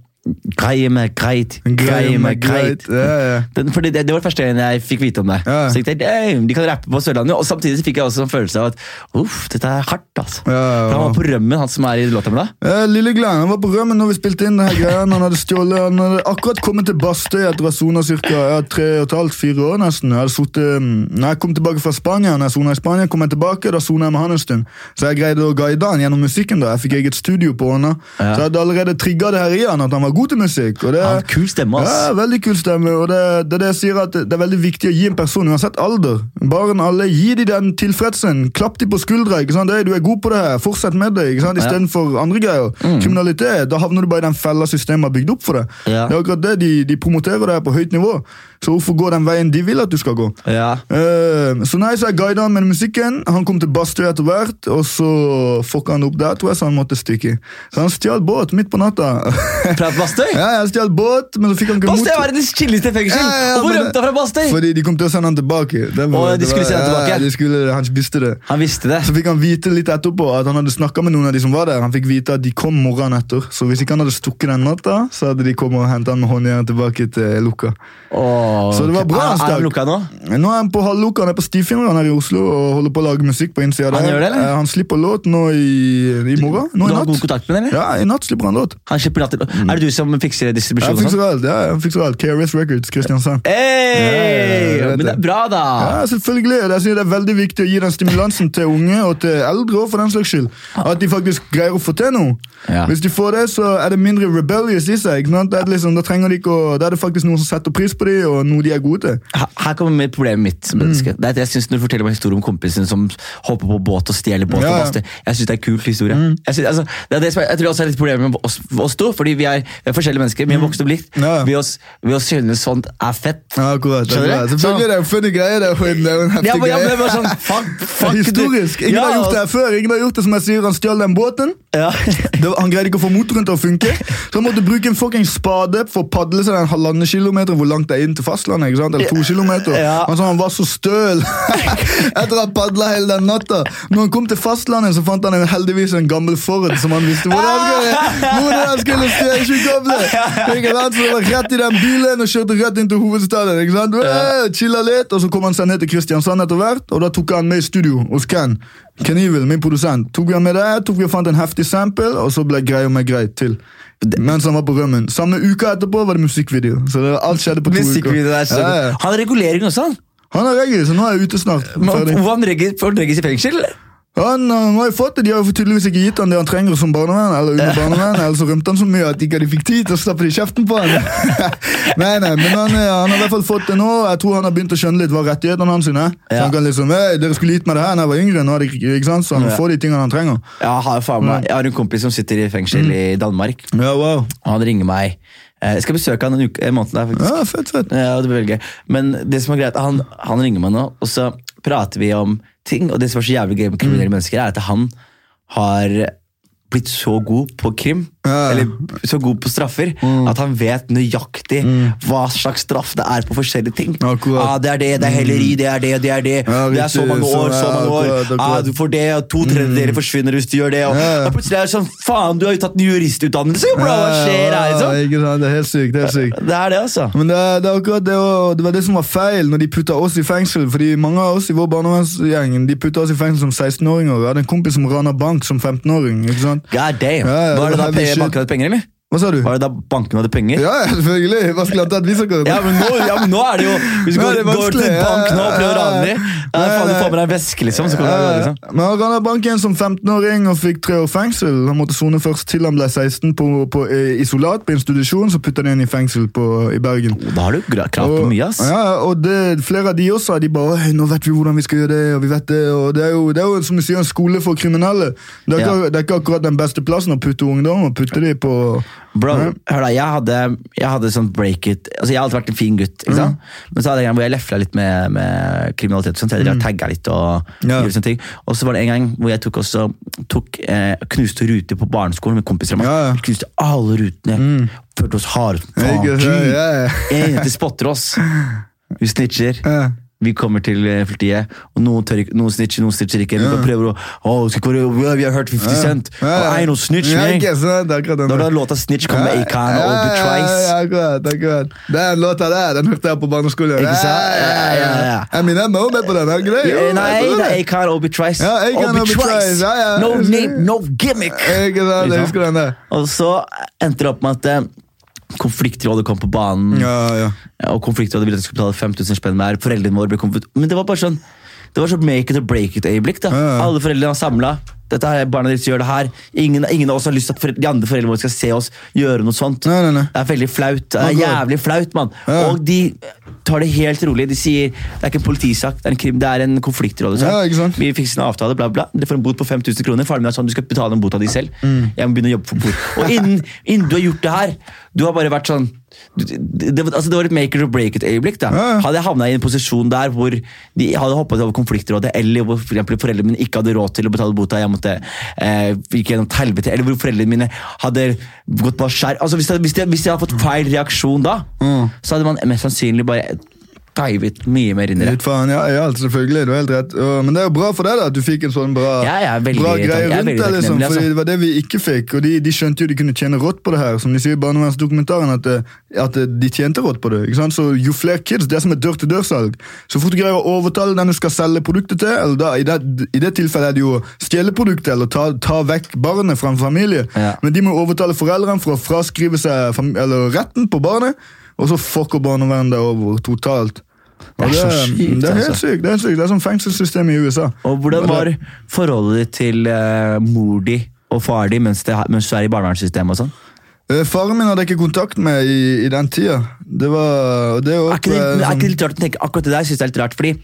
A: Greie meg greit, greie meg greit.
B: Ja, ja.
A: Den, fordi det, det var det første gangen jeg fikk vite om det.
B: Ja.
A: Så tenkte jeg, «Damn, De kan rappe på Sørlandet, og samtidig så fikk jeg også en følelse av at uff, dette er hardt. altså.
B: Ja, ja,
A: For Han
B: ja.
A: var på rømmen, han som er i låta med deg.
B: Eh, Lille Glenn han var på rømmen når vi spilte inn. denne greien Han hadde stjålet Han hadde akkurat kommet til Bastøy etter å ha sona ca. tre og et halvt, fire år. nesten Jeg hadde suttet, mm, Når jeg kom tilbake fra Spania, Når jeg sonet i Spania kom jeg tilbake, da sona jeg med han en stund. Så jeg greide å guide han gjennom musikken. da Jeg fikk eget studio på hånda.
A: Ja.
B: Så jeg hadde allerede trigga det her i han at han var god til musikk. Og det,
A: Han har kul stemme,
B: ja,
A: ass.
B: veldig kul stemme, og det, det, er det, jeg sier at det er veldig viktig å gi en person, uansett alder, barn alle, gi dem den tilfredsen, klapp dem på skuldra, ikke sant? «Hey, du er god på det her, fortsett med det, ikke sant? i
A: Ja. Mm.
B: stedet for andre greier. Kriminalitet, da havner du bare i den fella systemet har bygd opp for deg.
A: Ja.
B: Det er akkurat det, de, de promoterer det her på høyt nivå, så hvorfor gå den veien de vil at du skal gå?
A: Ja.
B: Eh, så nei, så jeg guidet han med musikken, han kom til Bastøy etter hvert, og så fucka han opp der, tror jeg, så han måtte stikke. Så han stjal båt midt på natta. <laughs>
A: Fra Bastøy?
B: ja, jeg stjal båt, men så fikk han ikke
A: Bastøy
B: mot-
A: er verdens chilleste fengsel!
B: Ja, ja, ja,
A: Hvorfor
B: men-
A: rømte han fra Bastøy?
B: Fordi de kom til å sende han tilbake. Det
A: Å, de
B: det
A: skulle sende han tilbake?
B: Ja, de skulle, han visste det.
A: Han visste det.
B: Så fikk han vite litt etterpå at han hadde snakket med noen av de som var der. Han fikk vite at de kom morgenen etter. Så hvis ikke han hadde stukket den natta, så hadde de kommet og hentet han med håndjern tilbake til Lukka.
A: Åh,
B: Så det var bra,
A: Er- Er
B: Stark.
A: han lukka nå?
B: Nå er han på halvlukka, han er på Stifinneren her i Oslo og holder på å lage musikk på innsida der.
A: Han gjør det, eller?
B: Eh, Han slipper låt nå i, i morgen.
A: Du
B: Nå i
A: har god
B: natt.
A: kontakt med den, eller?
B: Ja, i natt slipper han låt.
A: Han slipper latter. Er det du som fikser
B: Jeg
A: distribusjonen? og sånn?
B: fikser alt. Ja, jeg fikser alt. KRS Records, Kristiansand.
A: Hey!
B: Ja, ja, ja, jeg vet
A: men det er
B: det.
A: bra, da.
B: Ja, selvfølgelig. Jeg synes det er veldig viktig å gi den stimulansen til unge og til eldre. også, for den slags skyld. At de faktisk greier å få til noe.
A: Ja.
B: Hvis de får det, så er det mindre rebellious i seg. ikke sant? Det er liksom, da trenger de ikke å, da er det faktisk noen som setter pris på dem, og noe de er gode til.
A: Her- Her kommer mitt problem mitt
B: Mm.
A: som menneske. Det er at jeg synes Når du forteller meg historier om kompisen som hopper på båt og stjeler båt,
B: Ja, Mm.
A: og
B: ja.
A: baster, jeg syns det er en kul historie. Jeg, synes, altså, det er det som er, jeg tror også er litt problemet med oss, oss to, fordi vi er, vi er forskjellige mennesker. Vi har vokst opp likt.
B: Mm. Ja, ja.
A: Vi, oss, vi oss synes sånt er fett.
B: Ja, akkurat.
A: Skjønner
B: akkurat.
A: du?
B: Selvfølgelig det er en funny greie. Det er jo en, det er jo en heftig
A: Ja, men, ja, men det
B: greie.
A: var
B: <laughs>
A: sånn, fuck,
B: Det
A: fuck
B: er
A: du.
B: historisk. Ingen
A: ja,
B: har gjort det her før. Ingen har gjort det som jeg sier, Han stjal den båten. <laughs>
A: Ja.
B: Det, var- han greide ikke å få motoren til å funke, så han måtte bruke en fucking spade for å padle seg den halvannen kilometer hvor langt det er inn til fastlandet. ikke sant? Eller to kilometer.
A: Ja.
B: Altså, Han sa han var så støl etter å ha padla hele den natta. Når han kom til fastlandet, så fant han en, heldigvis en gammel Ford som han visste hvordan han skulle, hvordan han skulle styre tjukkoble. Ikke sant? Så det var rett i den bilen og kjørte rett inn til hovedstaden. ikke sant? Øh, Chilla litt, og så kom han seg ned til Kristiansand etter hvert, og da tok han med i studio hos Ken. Ken Evil, min produsent. Tok vi han med der, tok vi og fant en heftig sample, og så ble greia med grei til. Mens han var på rømmen. Samme uka etterpå var det musikkvideo. Så det, alt skjedde på to uker.
A: Musikkvideoen er så
B: Ja, ja.
A: Han har regulering også, han.
B: Han er regel, så nå er jeg ute snart.
A: Eh, Men,
B: Ferdig.
A: Får han regges- får han regges i fengsel? eller?
B: Han, han har jo fått det, De har jo tydeligvis ikke gitt han det han trenger som barnevern, eller
A: <laughs>
B: under barnevern, eller så rømte han så mye at de ikke de fikk tid til å stappe det i kjeften
A: <laughs>
B: på han. nei, nei, men han, eh, han har i hvert fall fått det nå. Jeg tror han har begynt å skjønne litt hva rettighetene hans er. Så
A: Ja.
B: han kan liksom, hei, dere skulle gitt meg det her da jeg var yngre, nå er det, ikke- ikke sant? så han
A: Ja.
B: får de tingene han trenger.
A: Ja, jeg har faen
B: Mm.
A: meg- jeg har en kompis som sitter i fengsel i Danmark.
B: Ja, wow.
A: Og han ringer meg. Eh, Jeg skal besøke han en uke, en måned der, faktisk.
B: Ja, fett, fett.
A: Ja, det blir veldig gøy. Men det som er greit, han, han ringer meg nå, og så prater vi om ting. Og det som er så jævlig gøy med kriminelle
B: Mm.
A: mennesker, er at han har blitt så god på krim,
B: Ja. Mm.
A: eller så god på straffer, at han vet nøyaktig hva slags straff det er på forskjellige ting.
B: Akkurat.
A: Ah, det er det, det er helleri, det er det, det er det.
B: Mm. Ja,
A: det er så
B: riktig,
A: mange
B: så-
A: år, så
B: ja,
A: mange år.
B: akkurat,
A: Ah,
B: akkurat.
A: du får det, og to tredjedeler forsvinner hvis du gjør det. Og,
B: Ja.
A: og plutselig er det sånn, faen, du har jo tatt en juristutdannelse, bro, hva skjer her,
B: Ja,
A: liksom?
B: ikke sant? Det er helt sykt, helt sykt.
A: Det er det, altså.
B: Men det, er- det er akkurat det, og det var det som var feil når de putta oss i fengsel. Fordi mange av oss i vår barnevernsgjeng de putta oss i fengsel som 16-åringer. Jeg hadde en kompis som rana bank som 15-åring. ikke sant?
A: God damn.
B: Ja, ja,
A: var det da
B: heavy
A: pe-
B: shit.
A: banken hadde penger, eller?
B: Hva sa du?
A: Var det da banken hadde penger?
B: Ja, ja, selvfølgelig! Hva skulle jeg tatt vi som kom?
A: Ja, men nå, ja, men nå er
B: <laughs>
A: det jo Hvis du
B: Nå
A: går,
B: er det
A: går til
B: vanskelig, ja,
A: bank nå og prøver å
B: ja, ja.
A: rane dem
B: Nei,
A: Faen, du
B: nei.
A: får med deg en veske, liksom. Så kan du rane,
B: Ja,
A: liksom.
B: Eh, Men han rana banken som 15-åring og fikk tre år fengsel. Han måtte sone først til han ble 16 på, på eh, isolat på institusjon, så putta de han i fengsel på, i Bergen.
A: Da har du gra- krav på
B: Og-
A: mye, ass.
B: Ja, og det, flere av de også, de bare «Oi, nå vet vi hvordan vi skal gjøre det, og vi vet det, og det er jo, det er jo som du sier, en skole for kriminelle. Det er,
A: Ja.
B: ikke, det er ikke akkurat den beste plassen å putte ungdom, og putte de på...
A: Bro, hør da, jeg hadde, jeg hadde sånn break it Altså, jeg har alltid vært en fin gutt, ikke
B: Mm.
A: sant? Men så hadde jeg en gang hvor jeg lefla litt med, med kriminalitet og sånt. Jeg mm. tagga litt og
B: Ja.
A: gjorde sånne ting. Og så var det en gang hvor jeg tok også tok, eh, knuste ruter på barneskolen med kompiser av meg.
B: Ja, ja.
A: Vi knuste alle rutene. Førte oss hardt. Faen,
B: Ikke sant?
A: G.
B: Ja, ja.
A: En jente spotter oss. Hun snitcher.
B: Ja.
A: Vi kommer til eh, politiet, og noen, tør ikke, noen snitcher, noen snitcher ikke. Vi bare prøver å «Å, skal ikke være, Vi har hørt 50 Cent. Og
B: Ja.
A: ei, noen snitch,
B: Ja,
A: man.
B: ikke sant, det er akkurat den
A: Når
B: der.
A: da låta Snitch kom med Acon og The
B: Ja,
A: Trice
B: ja, akkurat, akkurat. Den låta der, den hørte jeg på barneskolen.
A: Ikke sant? Ja, ja, ja.
B: Eminem er også med på den, er det greit?
A: Eh, Nei, det er Acon og Obi-Trice.
B: Ja, Akon og Obi-Trice, ja, ja.
A: No name, no gimmick!
B: Ikke sant, jeg husker den der.
A: Og så endte det opp med at eh, Konfliktrådet kom på banen,
B: Ja, ja.
A: og konfliktrådet ville at vi skulle betale 5000 spenn hver. Foreldrene våre ble konflikt... Men det var bare sånn Det var sånn make it or break it-øyeblikk. da
B: Ja, ja.
A: Alle foreldrene var samla. Dette her, barna deres gjør det her. Ingen, ingen av oss har lyst til at fore- de andre foreldrene våre skal se oss gjøre noe sånt.
B: Nei, nei, nei.
A: Det er veldig flaut. Det er
B: Man går-
A: jævlig flaut, mann.
B: Ja.
A: Og de tar det helt rolig. De sier det er ikke en politisak, det er en, krim, det er en konfliktråd. liksom.
B: Ja, ikke sant?
A: Vi fikser en avtale, bla, bla. Dere får en bot på 5000 kroner. Faren min er sånn, du skal betale den bota di selv. Jeg må begynne å jobbe for bot. Og innen, innen du har gjort det her, du har bare vært sånn du- det, det, var- altså det var et make it or break it-øyeblikk. da
B: Ja, ja.
A: Hadde jeg havna i en posisjon der hvor de hadde hoppet over konfliktrådet, eller hvor for eksempel foreldrene mine ikke hadde råd til å betale bota, jeg måtte eh, gikk gjennom et helvete, eller hvor foreldrene mine hadde gått på skjær altså hvis, jeg, hvis, jeg, hvis jeg hadde fått feil reaksjon da,
B: Mm.
A: så hadde man mest sannsynlig bare divet mye mer inn i det.
B: Litt faen, ja, ja, selvfølgelig, du har helt rett. Og- Men det er jo bra for deg da, at du fikk en sånn bra,
A: Ja, jeg er veldig
B: bra
A: takk-
B: greie
A: jeg er
B: rundt
A: veldig
B: deg. Liksom,
A: takknemlig, altså.
B: fordi Det var det vi ikke fikk, og de, de skjønte jo de kunne tjene rått på det her. Som de sier i barnevernsdokumentaren, at, eh, at eh, de tjente rått på det. Ikke sant? Så Jo flere kids, det er som et dør-til-dør-salg. Så fort du greier å overtale den du skal selge produktet til, eller da, i, det, i det tilfellet er det jo å stjele produktet eller ta, ta vekk barnet fra en familie,
A: Ja.
B: men de må jo overtale foreldrene for å fraskrive seg fam- eller retten på barnet, og så fucker barnevernet det over totalt.
A: Det er
B: Og
A: så sykt,
B: Det er helt
A: altså.
B: sykt. Det er, helt sykt. det er sånn fengselssystem i USA.
A: Og hvordan
B: det-
A: var forholdet ditt til eh, mor di og far di mens, det, mens du er i barnevernssystemet og sånn?
B: Eh, Faren min hadde jeg ikke kontakt med i, i den tida. Det var og det
A: Er ikke det, er
B: oppe,
A: ikke det
B: sånn,
A: litt rart å tenke akkurat det der? Synes jeg er litt rart, fordi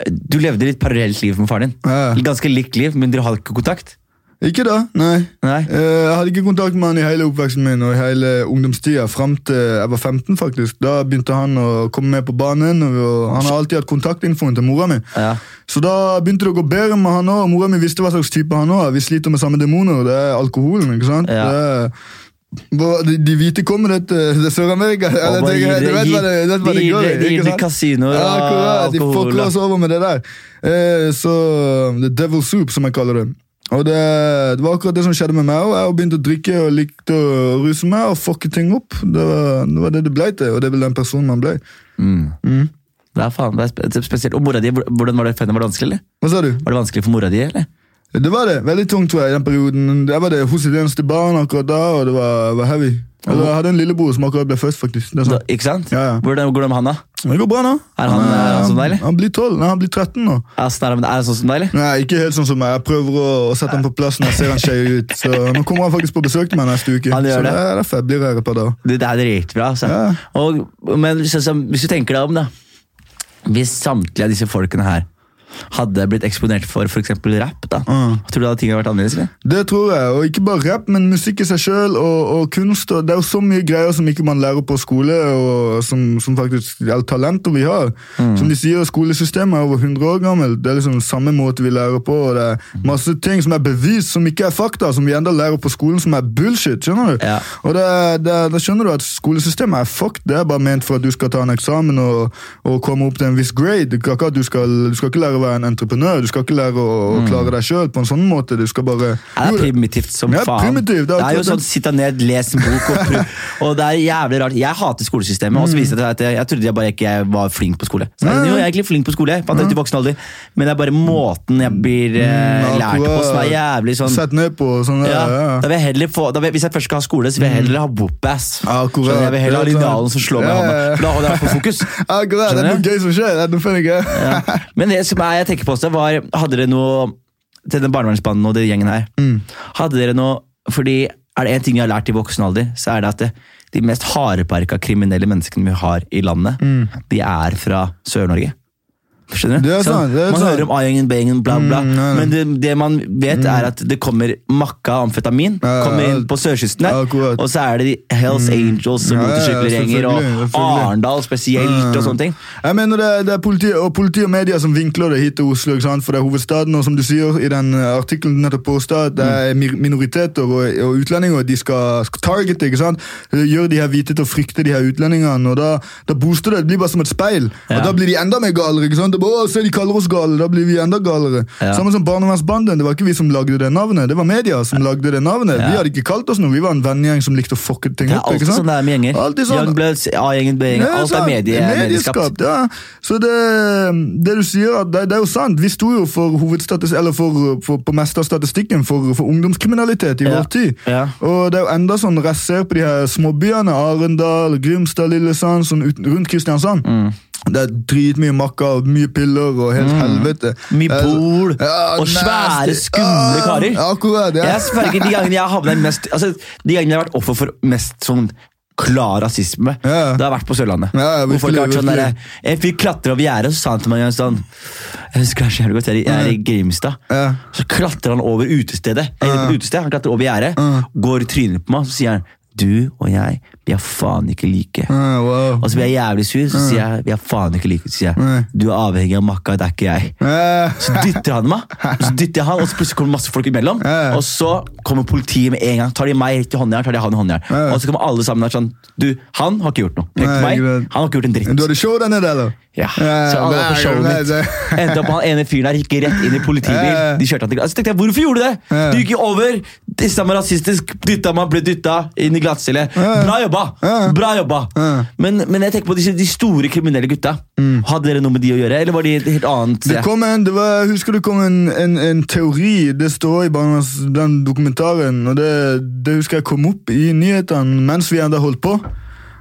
A: eh, du levde litt parallelt liv med faren din.
B: Ja.
A: Ganske likt liv, men dere hadde ikke kontakt.
B: Ikke da, nei.
A: Nei.
B: Eh, Jeg hadde ikke kontakt med han i hele oppveksten min og i hele ungdomstida fram til jeg var 15. faktisk. Da begynte han å komme med på banen, og han har alltid hatt kontaktinfoen til mora mi.
A: Ja.
B: Så da begynte det å gå bedre med han òg. Mora mi visste hva slags type han òg er. Vi sliter med samme demoner. Det er alkoholen. ikke sant?
A: Ja.
B: Det er, Hva- de, de hvite kommer det til til Sør-Amerika. Eller
A: bare
B: det-
A: gir
B: Du
A: det-
B: vet hva
A: gir-
B: det, vet hva
A: de
B: det
A: gir
B: går i.
A: det- de gir
B: ikke
A: det
B: sant?
A: kasinoer
B: Ja,
A: og
B: akkurat, De
A: alkohol,
B: fucker
A: da.
B: oss over med det der. Eh, så The Devil Soup, som jeg kaller det. Og det, det var akkurat det som skjedde med meg. Og jeg begynte å drikke og likte å ruse meg og fucke ting opp. Det var det, var det, det ble til, og det er vel den personen man ble. Mm.
A: Mm. Det er faen, det er spe- spesielt. Og mora di, hvor- hvordan var det for henne? Var det vanskelig, eller?
B: Hva sa du?
A: Var det vanskelig for mora di, eller?
B: Det var det. Veldig tungt tror jeg, i den perioden. Jeg var det hos sitt eneste barn akkurat da, og det var, var heavy. Eller, jeg hadde en lillebror som akkurat ble først, faktisk. Det er
A: Da,
B: sant.
A: ikke sant?
B: Ja, ja.
A: Hvordan går det med han, da?
B: Men Det går bra nå.
A: Er han, altså
B: eh,
A: er han som deg, eller?
B: Han blir 12, nei, han blir 13 nå.
A: Er han sånn- er han sånn som deg, eller?
B: Nei, ikke helt sånn som meg. Jeg prøver å, å sette han på plass når jeg ser han skeiv ut. Så nå kommer han faktisk på besøk til meg neste uke.
A: Han gjør
B: så
A: det.
B: er derfor jeg blir her et par dager.
A: Det, det er dritbra, altså.
B: Ja.
A: Og, men sånn som- hvis du tenker deg om, da. Hvis samtlige av disse folkene her hadde blitt eksponert for f.eks. rap, da.
B: Mm.
A: Tror du da ting hadde vært annerledes? eller?
B: Det tror jeg, og ikke bare rap, men musikk i seg sjøl og, og kunst. og Det er jo så mye greier som ikke man lærer på skole, og som, som faktisk er talenter vi har. Som de sier, skolesystemet er over 100 år gammelt. Det er liksom samme måte vi lærer på, og det er masse ting som er bevis som ikke er fakta, som vi enda lærer på skolen som er bullshit. skjønner du?
A: Ja.
B: Og det, er- det, er- da skjønner du at skolesystemet er fucked. Det er bare ment for at du skal ta en eksamen og, og komme opp til en viss grade. Det er ikke at Du skal, du skal ikke lære å være en entreprenør, du skal ikke lære å, å klare deg sjøl på en sånn måte. Du skal bare
A: Ja,
B: Jo,
A: det er primitivt som
B: Ja,
A: faen.
B: primitivt,
A: det, er
B: det er
A: jo
B: akkurat
A: sånn
B: det.
A: sitta ned, les en bok og prøv.
B: <laughs>
A: Og det er jævlig rart. Jeg hater skolesystemet. Og så viser det seg at jeg, jeg trodde jeg bare ikke jeg var flink på skole. Så jeg,
B: Mm. Nei,
A: jo,
B: nei.
A: jeg er egentlig flink på skole, jeg fant jeg ut i voksen alder, men det er bare måten jeg blir eh,
B: Mm,
A: lært på som er
B: akkurat.
A: jævlig sånn
B: Sett ned på og sånn.
A: ja,
B: Ja,
A: da
B: ja.
A: vil jeg heller få, da vil, jeg- hvis jeg først skal ha skole, så vil jeg heller ha Bopass. Skjønner
B: Akkurat.
A: du? Jeg vil heller ha
B: Det er sant.
A: linjalen som slår meg i
B: Ja,
A: hånda.
B: ja, ja.
A: For Da holder jeg i hvert fall fokus.
B: <laughs> Akkurat, det er
A: Skjønner
B: noe gøy som skjer. Det er noe funny
A: <laughs>
B: gøy.
A: Ja. Men det som er, jeg tenker på også, var Hadde dere noe til den barnevernsbanen og den gjengen her
B: Mm.
A: Hadde dere noe Fordi er det en ting jeg har lært i voksen alder, så er det at det, de mest hardbarka kriminelle menneskene vi har i landet, de er fra Sør-Norge. Skjønner du?
B: Mm. Det er
A: Så
B: sant, det er
A: man
B: sant.
A: hører om A-gjengen, B-gjengen, bla, bla.
B: Mm, nei, nei.
A: Men det, det man vet, er at det kommer makka amfetamin
B: Ja,
A: kommer inn
B: ja.
A: på sørkysten her,
B: Akkurat. Mm.
A: og så er det de Hells Angels og
B: Ja, ja,
A: motorsykkelgjenger,
B: selvfølgelig,
A: og
B: selvfølgelig.
A: Arendal spesielt, og sånne ting.
B: Jeg mener det, er- det er politi og, politi og media som vinkler det hit til Oslo, ikke sant? for det er hovedstaden. Og som du sier i den eh, artikkelen du nettopp posta, at det er mi- minoriteter og, og utlendinger de skal, skal targete. ikke sant? Gjøre de her hvite til å frykte de her utlendingene. og Da, da booster det. Det blir bare som et speil.
A: Ja.
B: Og Da blir de enda mer galere. ikke sant? Det er bare, å, se, de kaller oss gale, Da blir vi enda galere.
A: Ja.
B: Samme som Barnevernsbanden. Det var ikke vi som lagde det navnet, det var media som lagde det navnet.
A: Ja.
B: Vi hadde ikke kalt oss noe. Vi var en vennegjeng som likte å fucke ting
A: Det er
B: opp. ikke
A: alltid
B: sant?
A: sånn det er med gjenger.
B: Alltid sånn.
A: Youngbloods, A-gjengen, B-gjengen.
B: Ja,
A: Alt er
B: sant.
A: medie, medieskapt.
B: Medieskapt, Ja. Så det, det du sier, at det, det er jo sant. Vi sto jo for hovedstatis- eller for, for, på meste av statistikken for, for ungdomskriminalitet i
A: Ja.
B: vår tid.
A: Ja.
B: Og det er jo enda sånn når
A: Mm.
B: jeg ser på de her småbyene, Arendal, Grimstad, Lillesand, sånn ut, rundt Kristiansand. Det er dritmye makka, og mye piller og helt helvete.
A: Mye
B: Eh,
A: pol,
B: ja,
A: og svære,
B: nasty.
A: skumle
B: Ja,
A: karer.
B: Akkurat, ja.
A: Jeg sverger, De gangene jeg har havnet i mest altså, De gangene jeg har vært offer for mest sånn klar rasisme,
B: Ja.
A: det har vært på Sørlandet.
B: Ja, ja,
A: Hvor folk har vært sånn der,
B: virkelig,
A: En fyr klatra over gjerdet, og så sa han til meg en gang sånn Jeg husker det er så jævlig godt, jeg er i- jeg er i Grimstad.
B: Ja.
A: Så klatrer han over utestedet. Jeg er inne på et utested, Han klatrer over gjerdet, går i trynet på meg, så sier han Du og jeg, vi er faen ikke like.
B: Ja, Ah, wow.
A: Og så blir jeg jævlig sur, så sier jeg vi er faen ikke like. Så sier
B: Nei.
A: jeg, Du er avhengig av makka, det er ikke jeg.
B: Ja.
A: Så dytter han meg, og så dytter jeg han, og så plutselig kommer masse folk imellom.
B: Ja.
A: Og så kommer politiet med en gang. Tar de meg rett i håndjern, tar de han i håndjern.
B: Ja.
A: Og så kommer alle sammen der sånn Du, han har ikke gjort noe. Pek
B: Nei,
A: på meg.
B: greit.
A: Han har ikke gjort en dritt.
B: Du hadde show der nede, eller?
A: Ja, så alle var på showet
B: nei,
A: mitt.
B: nei.
A: Endte opp med han ene fyren der gikk rett inn i politibil.
B: Ja.
A: De kjørte han til altså, tenkte jeg, Hvorfor gjorde du det?
B: Ja.
A: Du gikk jo over, dissa meg rasistisk, dytta meg, ble dytta inn i glattcelle.
B: Ja.
A: Bra jobba!
B: Ja.
A: Bra jobba!
B: Ja. Mm.
A: Men, men jeg tenker på disse, de store kriminelle gutta. Hadde dere noe med de å gjøre, eller var de et helt annet?
B: Det kom en, det var, jeg husker det kom en, en, en teori, det står i Barnas, den dokumentaren, og det, det husker jeg kom opp i nyhetene mens vi enda holdt på.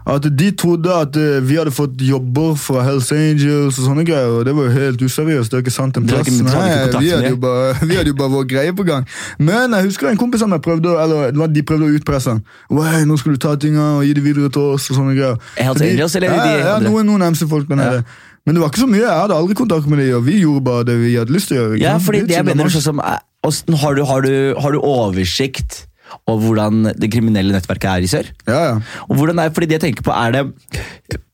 B: At de trodde at eh, vi hadde fått jobber fra Hells Angels og sånne greier, og det var jo helt useriøst. Det er ikke sant en
A: Det var
B: plass.
A: ikke- det var ikke
B: Nei,
A: kontakt
B: vi,
A: med
B: hadde
A: det.
B: jo bare, <laughs> vi hadde jo bare vår greie på gang. Men jeg husker en kompis av meg prøvde, å- eller det var- de prøvde å utpresse han. «Oi, nå skal du ta tinga og gi det videre til oss og sånne greier.
A: Hells
B: Så de-
A: Angels, eller
B: ja,
A: de
B: ja,
A: andre?
B: noen, noen MC-folk der nede. Men det var ikke så mye. Jeg hadde aldri kontakt med dem, og vi gjorde bare det vi hadde lyst til å gjøre. ikke
A: Ja,
B: sant?
A: fordi
B: Litt
A: det jeg
B: som
A: mener
B: det
A: sånn som er- Åssen har, du- har, du- har du oversikt over hvordan det kriminelle nettverket er i sør?
B: var. Ja, ja.
A: Og hvordan er, fordi det jeg tenker på er det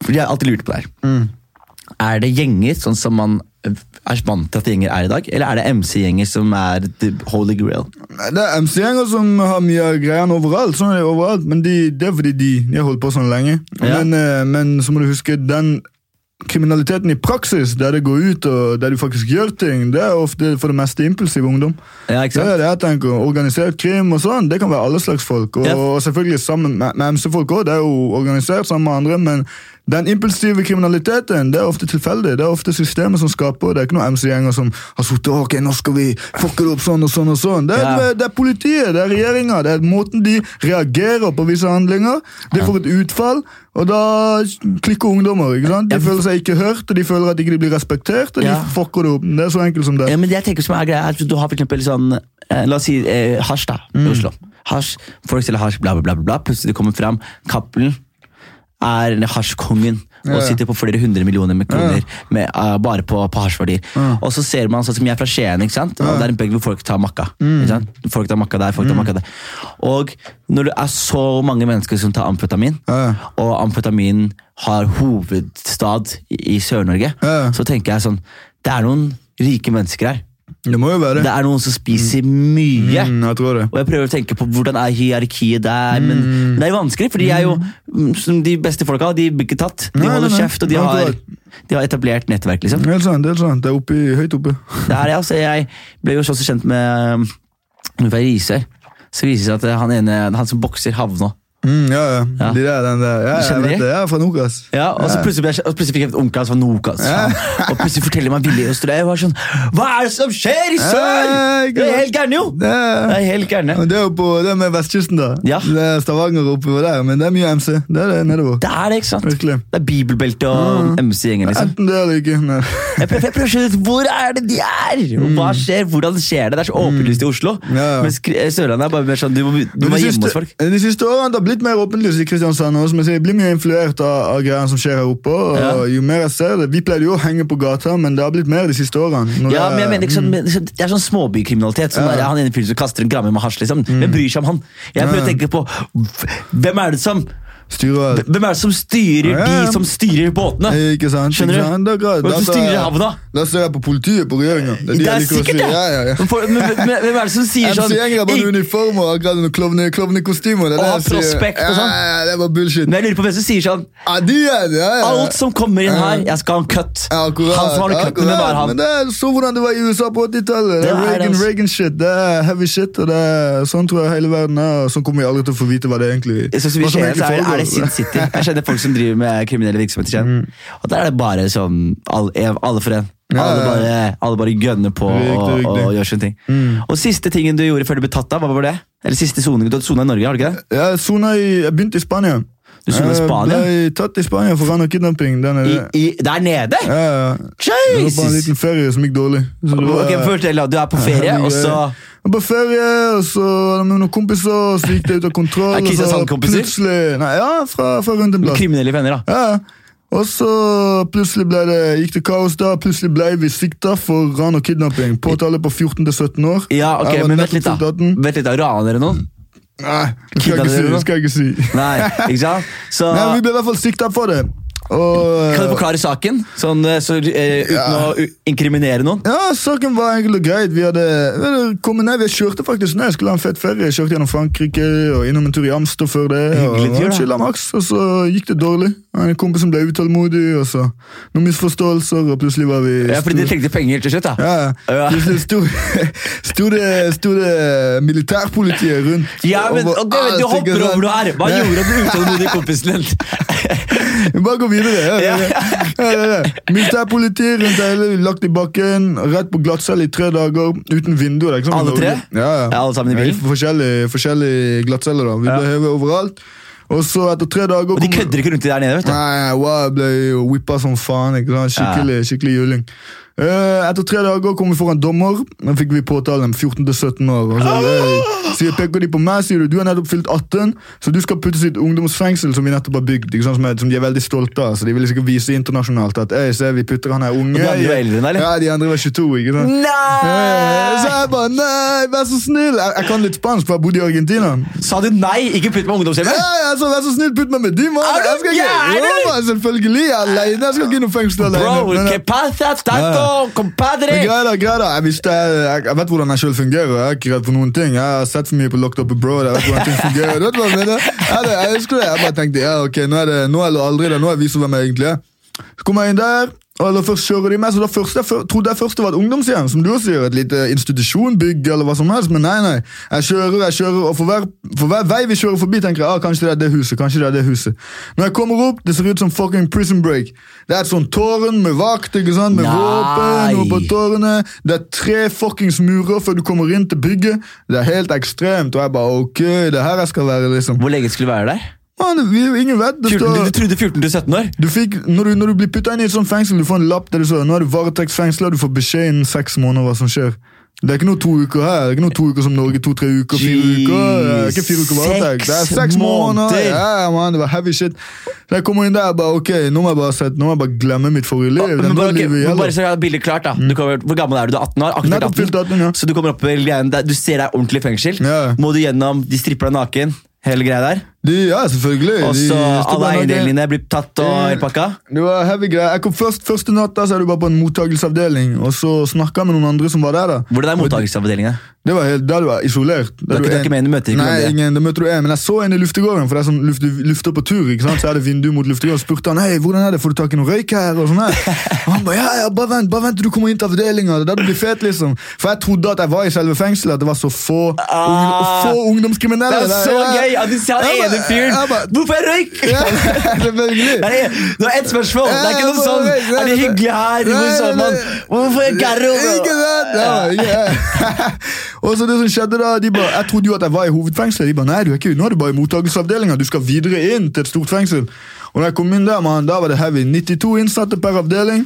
A: Fordi jeg har alltid lurt på det her. Er det gjenger sånn som man er vant til at gjenger er i dag, eller er det MC-gjenger som er the holy grail?
B: Det er MC-gjenger som har mye av greiene overalt, sånn er det overalt, men de, det er fordi de, de har holdt på sånn lenge.
A: Ja.
B: Men, eh, men så må du huske, den kriminaliteten i praksis, der det går ut og der du faktisk gjør ting, det er ofte for det meste impulsiv ungdom.
A: Ja, ikke
B: Det
A: sant?
B: er det jeg tenker. Organisert krim og sånn, det kan være alle slags folk. Og,
A: Ja.
B: og selvfølgelig sammen med, med MC-folk òg, det er jo organisert sammen med andre. Men den impulsive kriminaliteten det er ofte tilfeldig. Det er ofte systemet som skaper det. er ikke noen MC-gjenger som har sittet ok, nå skal vi fucke det opp sånn og sånn. og sånn. Det er,
A: Ja.
B: det er politiet, det er regjeringa, det er måten de reagerer på visse handlinger. Det får et utfall, og da klikker ungdommer. ikke sant? De
A: Ja, for-
B: føler seg ikke hørt, og de føler at ikke de blir respektert, og
A: Ja.
B: de fucker det opp. Det er så enkelt som det.
A: Ja, men det jeg tenker som er greia, er at du har for eksempel sånn eh, La oss si eh, hasj, da,
B: Mm.
A: i Oslo. Hasj, Folk selger hasj, bla, bla, bla. bla, bla. Plutselig kommer fram Cappelen er hasjkongen og
B: Ja, ja.
A: sitter på flere hundre millioner med kroner med, eh, bare på, på hasjverdier. Og så ser man sånn som jeg er fra Skien, ikke sant? og det er en bygd hvor folk tar makka.
B: Mm.
A: Ikke sant? Folk tar makka der, folk tar makka der. Og når det er så mange mennesker som tar amfetamin,
B: Ja.
A: og amfetamin har hovedstad i, i Sør-Norge,
B: Ja.
A: så tenker jeg sånn Det er noen rike mennesker her.
B: Det må jo være
A: Det
B: det.
A: er noen som spiser mye.
B: Mm, jeg tror det.
A: Og jeg prøver å tenke på hvordan er hierarkiet der, men men det er jo vanskelig, fordi jeg er jo, mm, som de beste folka, de blir ikke tatt. De
B: Nei, nei,
A: holder
B: nei.
A: kjeft, og de har,
B: Akkurat.
A: de har etablert nettverk, liksom.
B: Helt sant, helt sant. Det er oppi, høyt oppe.
A: Det er det, altså. Jeg ble jo så kjent med um, fra Risør. Så viser det seg at eh, han ene, han som bokser, havna.
B: Mm, ja, ja.
A: Ja.
B: De der, den der. Ja,
A: Du
B: jeg
A: kjenner
B: vet
A: de?
B: det. Jeg er fra Nokas.
A: Ja, og så plutselig, ble jeg, og plutselig fikk jeg et onkel hans fra Nokas. faen. Og plutselig forteller meg Willy Øster det. Jeg var sånn Hva er det som skjer i sør?!
B: Ja, ikke
A: Det er
B: sant?
A: helt gærne, jo!
B: Det
A: Det
B: er,
A: er helt gærne.
B: det er jo på det er med vestkysten, da.
A: Ja.
B: Det er Stavanger oppover der, men det er mye MC. Det er det nedover.
A: Det er det, ikke sant?
B: Virkelig.
A: Det er bibelbelte
B: Mm.
A: og MC-gjenger, liksom.
B: Enten det eller ikke. Nei.
A: Jeg prøver, jeg prøver å skjønne ut hvor er det de er! Og hva skjer, hvordan skjer det? Det er så åpenlyst i Oslo.
B: Mm. Ja, ja.
A: Mens Kri- Sørlandet er bare mer sånn Du må, du
B: Men
A: må
B: de,
A: hjemme hos
B: siste,
A: folk.
B: de siste årene det har blitt mer åpenlyst i Kristiansand. Også, som jeg sier, jeg blir mye influert av, av greiene som skjer her oppe. Og
A: Ja.
B: jo mer jeg ser det, Vi pleide jo å henge på gata, men det har blitt mer de siste årene. Når
A: Ja,
B: det er-
A: men jeg mener ikke sånn, men liksom, Det er sånn småbykriminalitet. Sånn
B: Mm. Ja. Mm.
A: der, han ene fyren som kaster en gramme med hasj. Liksom. Hvem bryr seg om han? Jeg prøver å
B: Ja.
A: tenke på hvem er det som
B: Styrer
A: Hvem er det som styrer
B: Ja, ja.
A: de som styrer båtene?
B: Eh, Ikke sant?
A: Skjønner du?
B: ikke sant? Det er greit.
A: Hvem
B: Da- da-
A: styrer havna?
B: Da ser jeg på politiet på regjeringa.
A: Det er sikkert det!
B: Ja, ja, ja.
A: Men for- men- men- men Hvem er det som
B: <laughs>
A: sier sånn
B: MC-gjenger er bare
A: «Ing-
B: noen uniformer og akkurat noen klovne- klovnekostymer.
A: Og
B: det er det
A: har
B: jeg sier.
A: prospekt og sånn.
B: Ja, ja, ja, det er bare bullshit.
A: Men jeg lurer på hvem som sier sånn
B: Ja, de er det, ja, ja.
A: Alt som kommer inn her, jeg skal ha en cut.
B: ja, akkurat,
A: han som har den cutten, hvem
B: akkurat.
A: er han?
B: Men det er så hvordan det var i USA på 80-tallet. Det
A: Det
B: er
A: er det,
B: Reagan,
A: altså.
B: Reagan shit. Det er heavy shit, og det er sånn tror jeg hele verden er. og Sånn kommer vi aldri til å få vite hva det egentlig
A: Sånn som i Skien,
B: hva som
A: så er,
B: egentlig
A: er det
B: foregår.
A: Sin City. Jeg kjenner folk som driver med kriminelle virksomheter. i Skien. Og der er det bare sånn all- ev- alle for en.
B: Ja,
A: Alle
B: ja.
A: bare, alle bare gønner på
B: Riktig,
A: og,
B: riktig.
A: og gjør sine ting. Og siste tingen du gjorde før du ble tatt av, hva var det? Eller siste soning? Du hadde sona i Norge, har du ikke det?
B: Jeg sona i, jeg begynte i Spania.
A: Du skulle i Spania?
B: Jeg ble tatt i Spania for ran og kidnapping. Den er
A: I,
B: det.
A: i, der nede?
B: Ja, ja. Det var bare en
A: Jesus!
B: liten ferie som gikk dårlig. Så det var-
A: Ok, fortell, Du er på ferie, og så
B: Jeg var på ferie, og så var det med noen kompiser, og så gikk det ut av kontroll.
A: Er
B: og så
A: Kristiansand-kompiser?
B: Plutselig, nei, ja, fra, fra rundt en plass.
A: kriminelle venner, da.
B: Ja, ja. og så plutselig ble det, gikk det kaos da, plutselig ble vi sikta for ran og kidnapping. Påtale på 14 til 17 år.
A: Ja, ok,
B: Jeg var
A: men
B: nettopp
A: vent litt, da.
B: fylt 18.
A: Vent litt da, Raner dere noen?
B: Nei, det skal
A: Kidnappet
B: jeg ikke si.
A: dere da?
B: Det skal jeg ikke si.
A: Nei, ikke sant? Så
B: <laughs> Nei, vi ble i hvert fall sikta for det. Og, eh,
A: kan du forklare saken, sånn, eh, så, eh, uten å u- inkriminere noen?
B: Ja, saken var enkel og greit. Vi hadde, vi hadde kommet ned, vi kjørte faktisk ned. Jeg skulle ha en fett ferie. Jeg kjørte gjennom Frankrike og innom en tur i Amster før det.
A: Hyggelig
B: og,
A: tur, da.
B: og, chillet maks, og så gikk det dårlig. Jeg hadde En kompis som ble utålmodig, og så noen misforståelser, og plutselig var vi
A: Ja, fordi de trengte penger til slutt, da.
B: ja, ja.
A: Ja.
B: Plutselig sto, sto, det, sto det militærpolitiet rundt.
A: Ja, men
B: over
A: og du, du
B: alt, ikke
A: hopper
B: sant?
A: over noe her! Hva
B: Ja.
A: gjorde at du utålmodige
B: <laughs>
A: kompisen din?
B: Vi bare går videre. Ja, ja,
A: Ja.
B: ja. Ja, ja, ja. Militærpoliti rundt hele, lagt i bakken, rett på glattcelle i tre dager, uten vinduer. Det er ikke sånn i
A: Alle
B: Norge.
A: tre?
B: Ja, ja.
A: Ja, alle sammen i
B: Ja,
A: bilen?
B: Forskjellige, forskjellige glattceller, da. Vi
A: Ja.
B: ble hevet overalt. Og så etter tre dager
A: Og de
B: kommer-
A: kødder ikke rundt der nede, vet du.
B: Nei, wow, jeg ble jo whippa som faen. ikke sant? Skikkelig, skikkelig juling. Eh, etter tre dager kom vi foran dommer. Da fikk vi påtale om 14-17 år. Og så,
A: Ah!
B: hey. så jeg peker de på meg sier du, du har nettopp fylt 18, så du skal puttes i et ungdomsfengsel som vi nettopp har bygd. ikke sant? Som, er, som de er veldig stolte av. Så de vil sikkert vise internasjonalt at «Ei, se, vi putter han her unge.
A: Og de andre var eldre enn deg, eller?
B: Ja, de andre var 22. ikke sant? Eh, Så
A: Nei!
B: jeg bare nei, vær så snill! Jeg, jeg kan litt spansk, for jeg bodde i Argentina.
A: Sa du nei? Ikke putt meg i ungdomshjemmet?
B: Hei, altså, vær så snill, putt meg med de, mann!
A: Er du
B: Jeg skal ikke
A: gæren?
B: Jo, mann, Selvfølgelig, jeg er alene. Jeg skal ikke i noe fengsel alene.
A: Bro,
B: Men, eh,
A: que pasa,
B: Ja,
A: tato,
B: men
A: compadre?
B: greia da, greia da. Jeg, visste, jeg, jeg, jeg vet hvordan jeg selv fungerer. Jeg er ikke redd for noen ting. Jeg har sett for mye på Locked Up Abroad. Jeg vet hvordan ting fungerer. Du vet hva jeg mener? Jeg, hadde- jeg husker det. Jeg bare tenkte, ja, ok, nå er det nå eller aldri. Det. Nå er jeg viser hvem jeg egentlig er. Så kommer jeg inn der, og da først kjører de meg. Så da først, jeg fø- trodde jeg først det var et ungdomshjem, som du også sier. Et lite institusjonbygg eller hva som helst. Men nei, nei. Jeg kjører, jeg kjører, og for hver, for hver vei vi kjører forbi, tenker jeg ah, kanskje det er det huset. kanskje det er det huset. Når jeg kommer opp, det ser ut som fucking prison break. Det er et sånt tårn med vakt, ikke sant? med
A: Nei.
B: våpen og på tårnet. Det er tre fuckings murer før du kommer inn til bygget. Det er helt ekstremt. Og jeg bare ok, det er her jeg skal være, liksom.
A: Hvor lenge skulle du være der?
B: Man, vi, ingen vet. Det
A: 14,
B: står
A: du trodde 14 til 17 år?
B: du fikk, når, du, når du blir putta inn i et sånt fengsel, du får en lapp der det står Nå er du varetektsfengsla, du får beskjed innen seks måneder hva som skjer. Det er ikke noe to uker her. Det er ikke noe to uker som Norge. To-tre uker, fire
A: Jeez,
B: uker. Det er ikke fire uker varetekt. Det er
A: seks
B: seks måneder!
A: måneder.
B: Ja, ja, man, det var heavy shit. Så jeg kommer inn der jeg bare ok, nå må jeg bare, sette, nå må jeg bare glemme mitt forrige liv.
A: Men
B: Dette
A: bare, ok,
B: livet
A: men
B: gjelder.
A: bare så jeg har bildet klart da Du kommer, Hvor gammel er du? Du er 18 år? akkurat
B: Nettopp fylt 18, ja.
A: Så du kommer opp i igjen, der- Du ser deg ordentlig i fengsel
B: Ja.
A: Må du gjennom, de stripper deg naken Hele greia der
B: De, ja, selvfølgelig.
A: Og
B: De
A: så
B: står
A: alle
B: bare naken.
A: eiendelene dine blir tatt og
B: Eh,
A: hele pakka
B: Det var heavy greier. Jeg kom først, Første natta så er du bare på en mottagelsesavdeling, og så snakka jeg med noen andre som var der. da.
A: Hvordan er mottakelseavdelingen?
B: Det var helt, der du er isolert. Der
A: er ikke- det er ikke med en, du møter ikke
B: Nei,
A: noen, det.
B: ingen, det møter du en, men jeg så en i luftegården, for det er sånn luft, lufter på tur, ikke sant? så er det vindu mot luftegården, og spurte han, hei, hvordan er det, får du tak i noe røyk her, og sånn her. Og han bare, ja, ja, bare vent, bare vent, til du kommer inn til avdelingen, det er der du blir fet, liksom. For jeg trodde at jeg var i selve fengselet, at det var så få,
A: Ah.
B: ung, få
A: Det
B: ungdomskriminelle.
A: er så
B: der.
A: gøy at du sa den
B: Jeg
A: ene
B: bare-
A: fyren
B: jeg bare-
A: Hvorfor er røyk?
B: <laughs> Ja, selvfølgelig.
A: Nei, Du har ett spørsmål Det er ikke noe sånn Er det hyggelig her? Hvor
B: Eh, Nei,
A: sånn
B: nei,
A: man
B: nei.
A: Hvorfor er garro?
B: Ikke sant? Ja, ja. <laughs> og så det som skjedde da, de bare, Jeg trodde jo at jeg var i hovedfengselet. De bare, nei, du er ikke, nå er du bare i mottakelsesavdelinga. Du skal videre inn til et stort fengsel. Og da jeg kom inn der, man, da var det heavy. 92 innsatte per avdeling.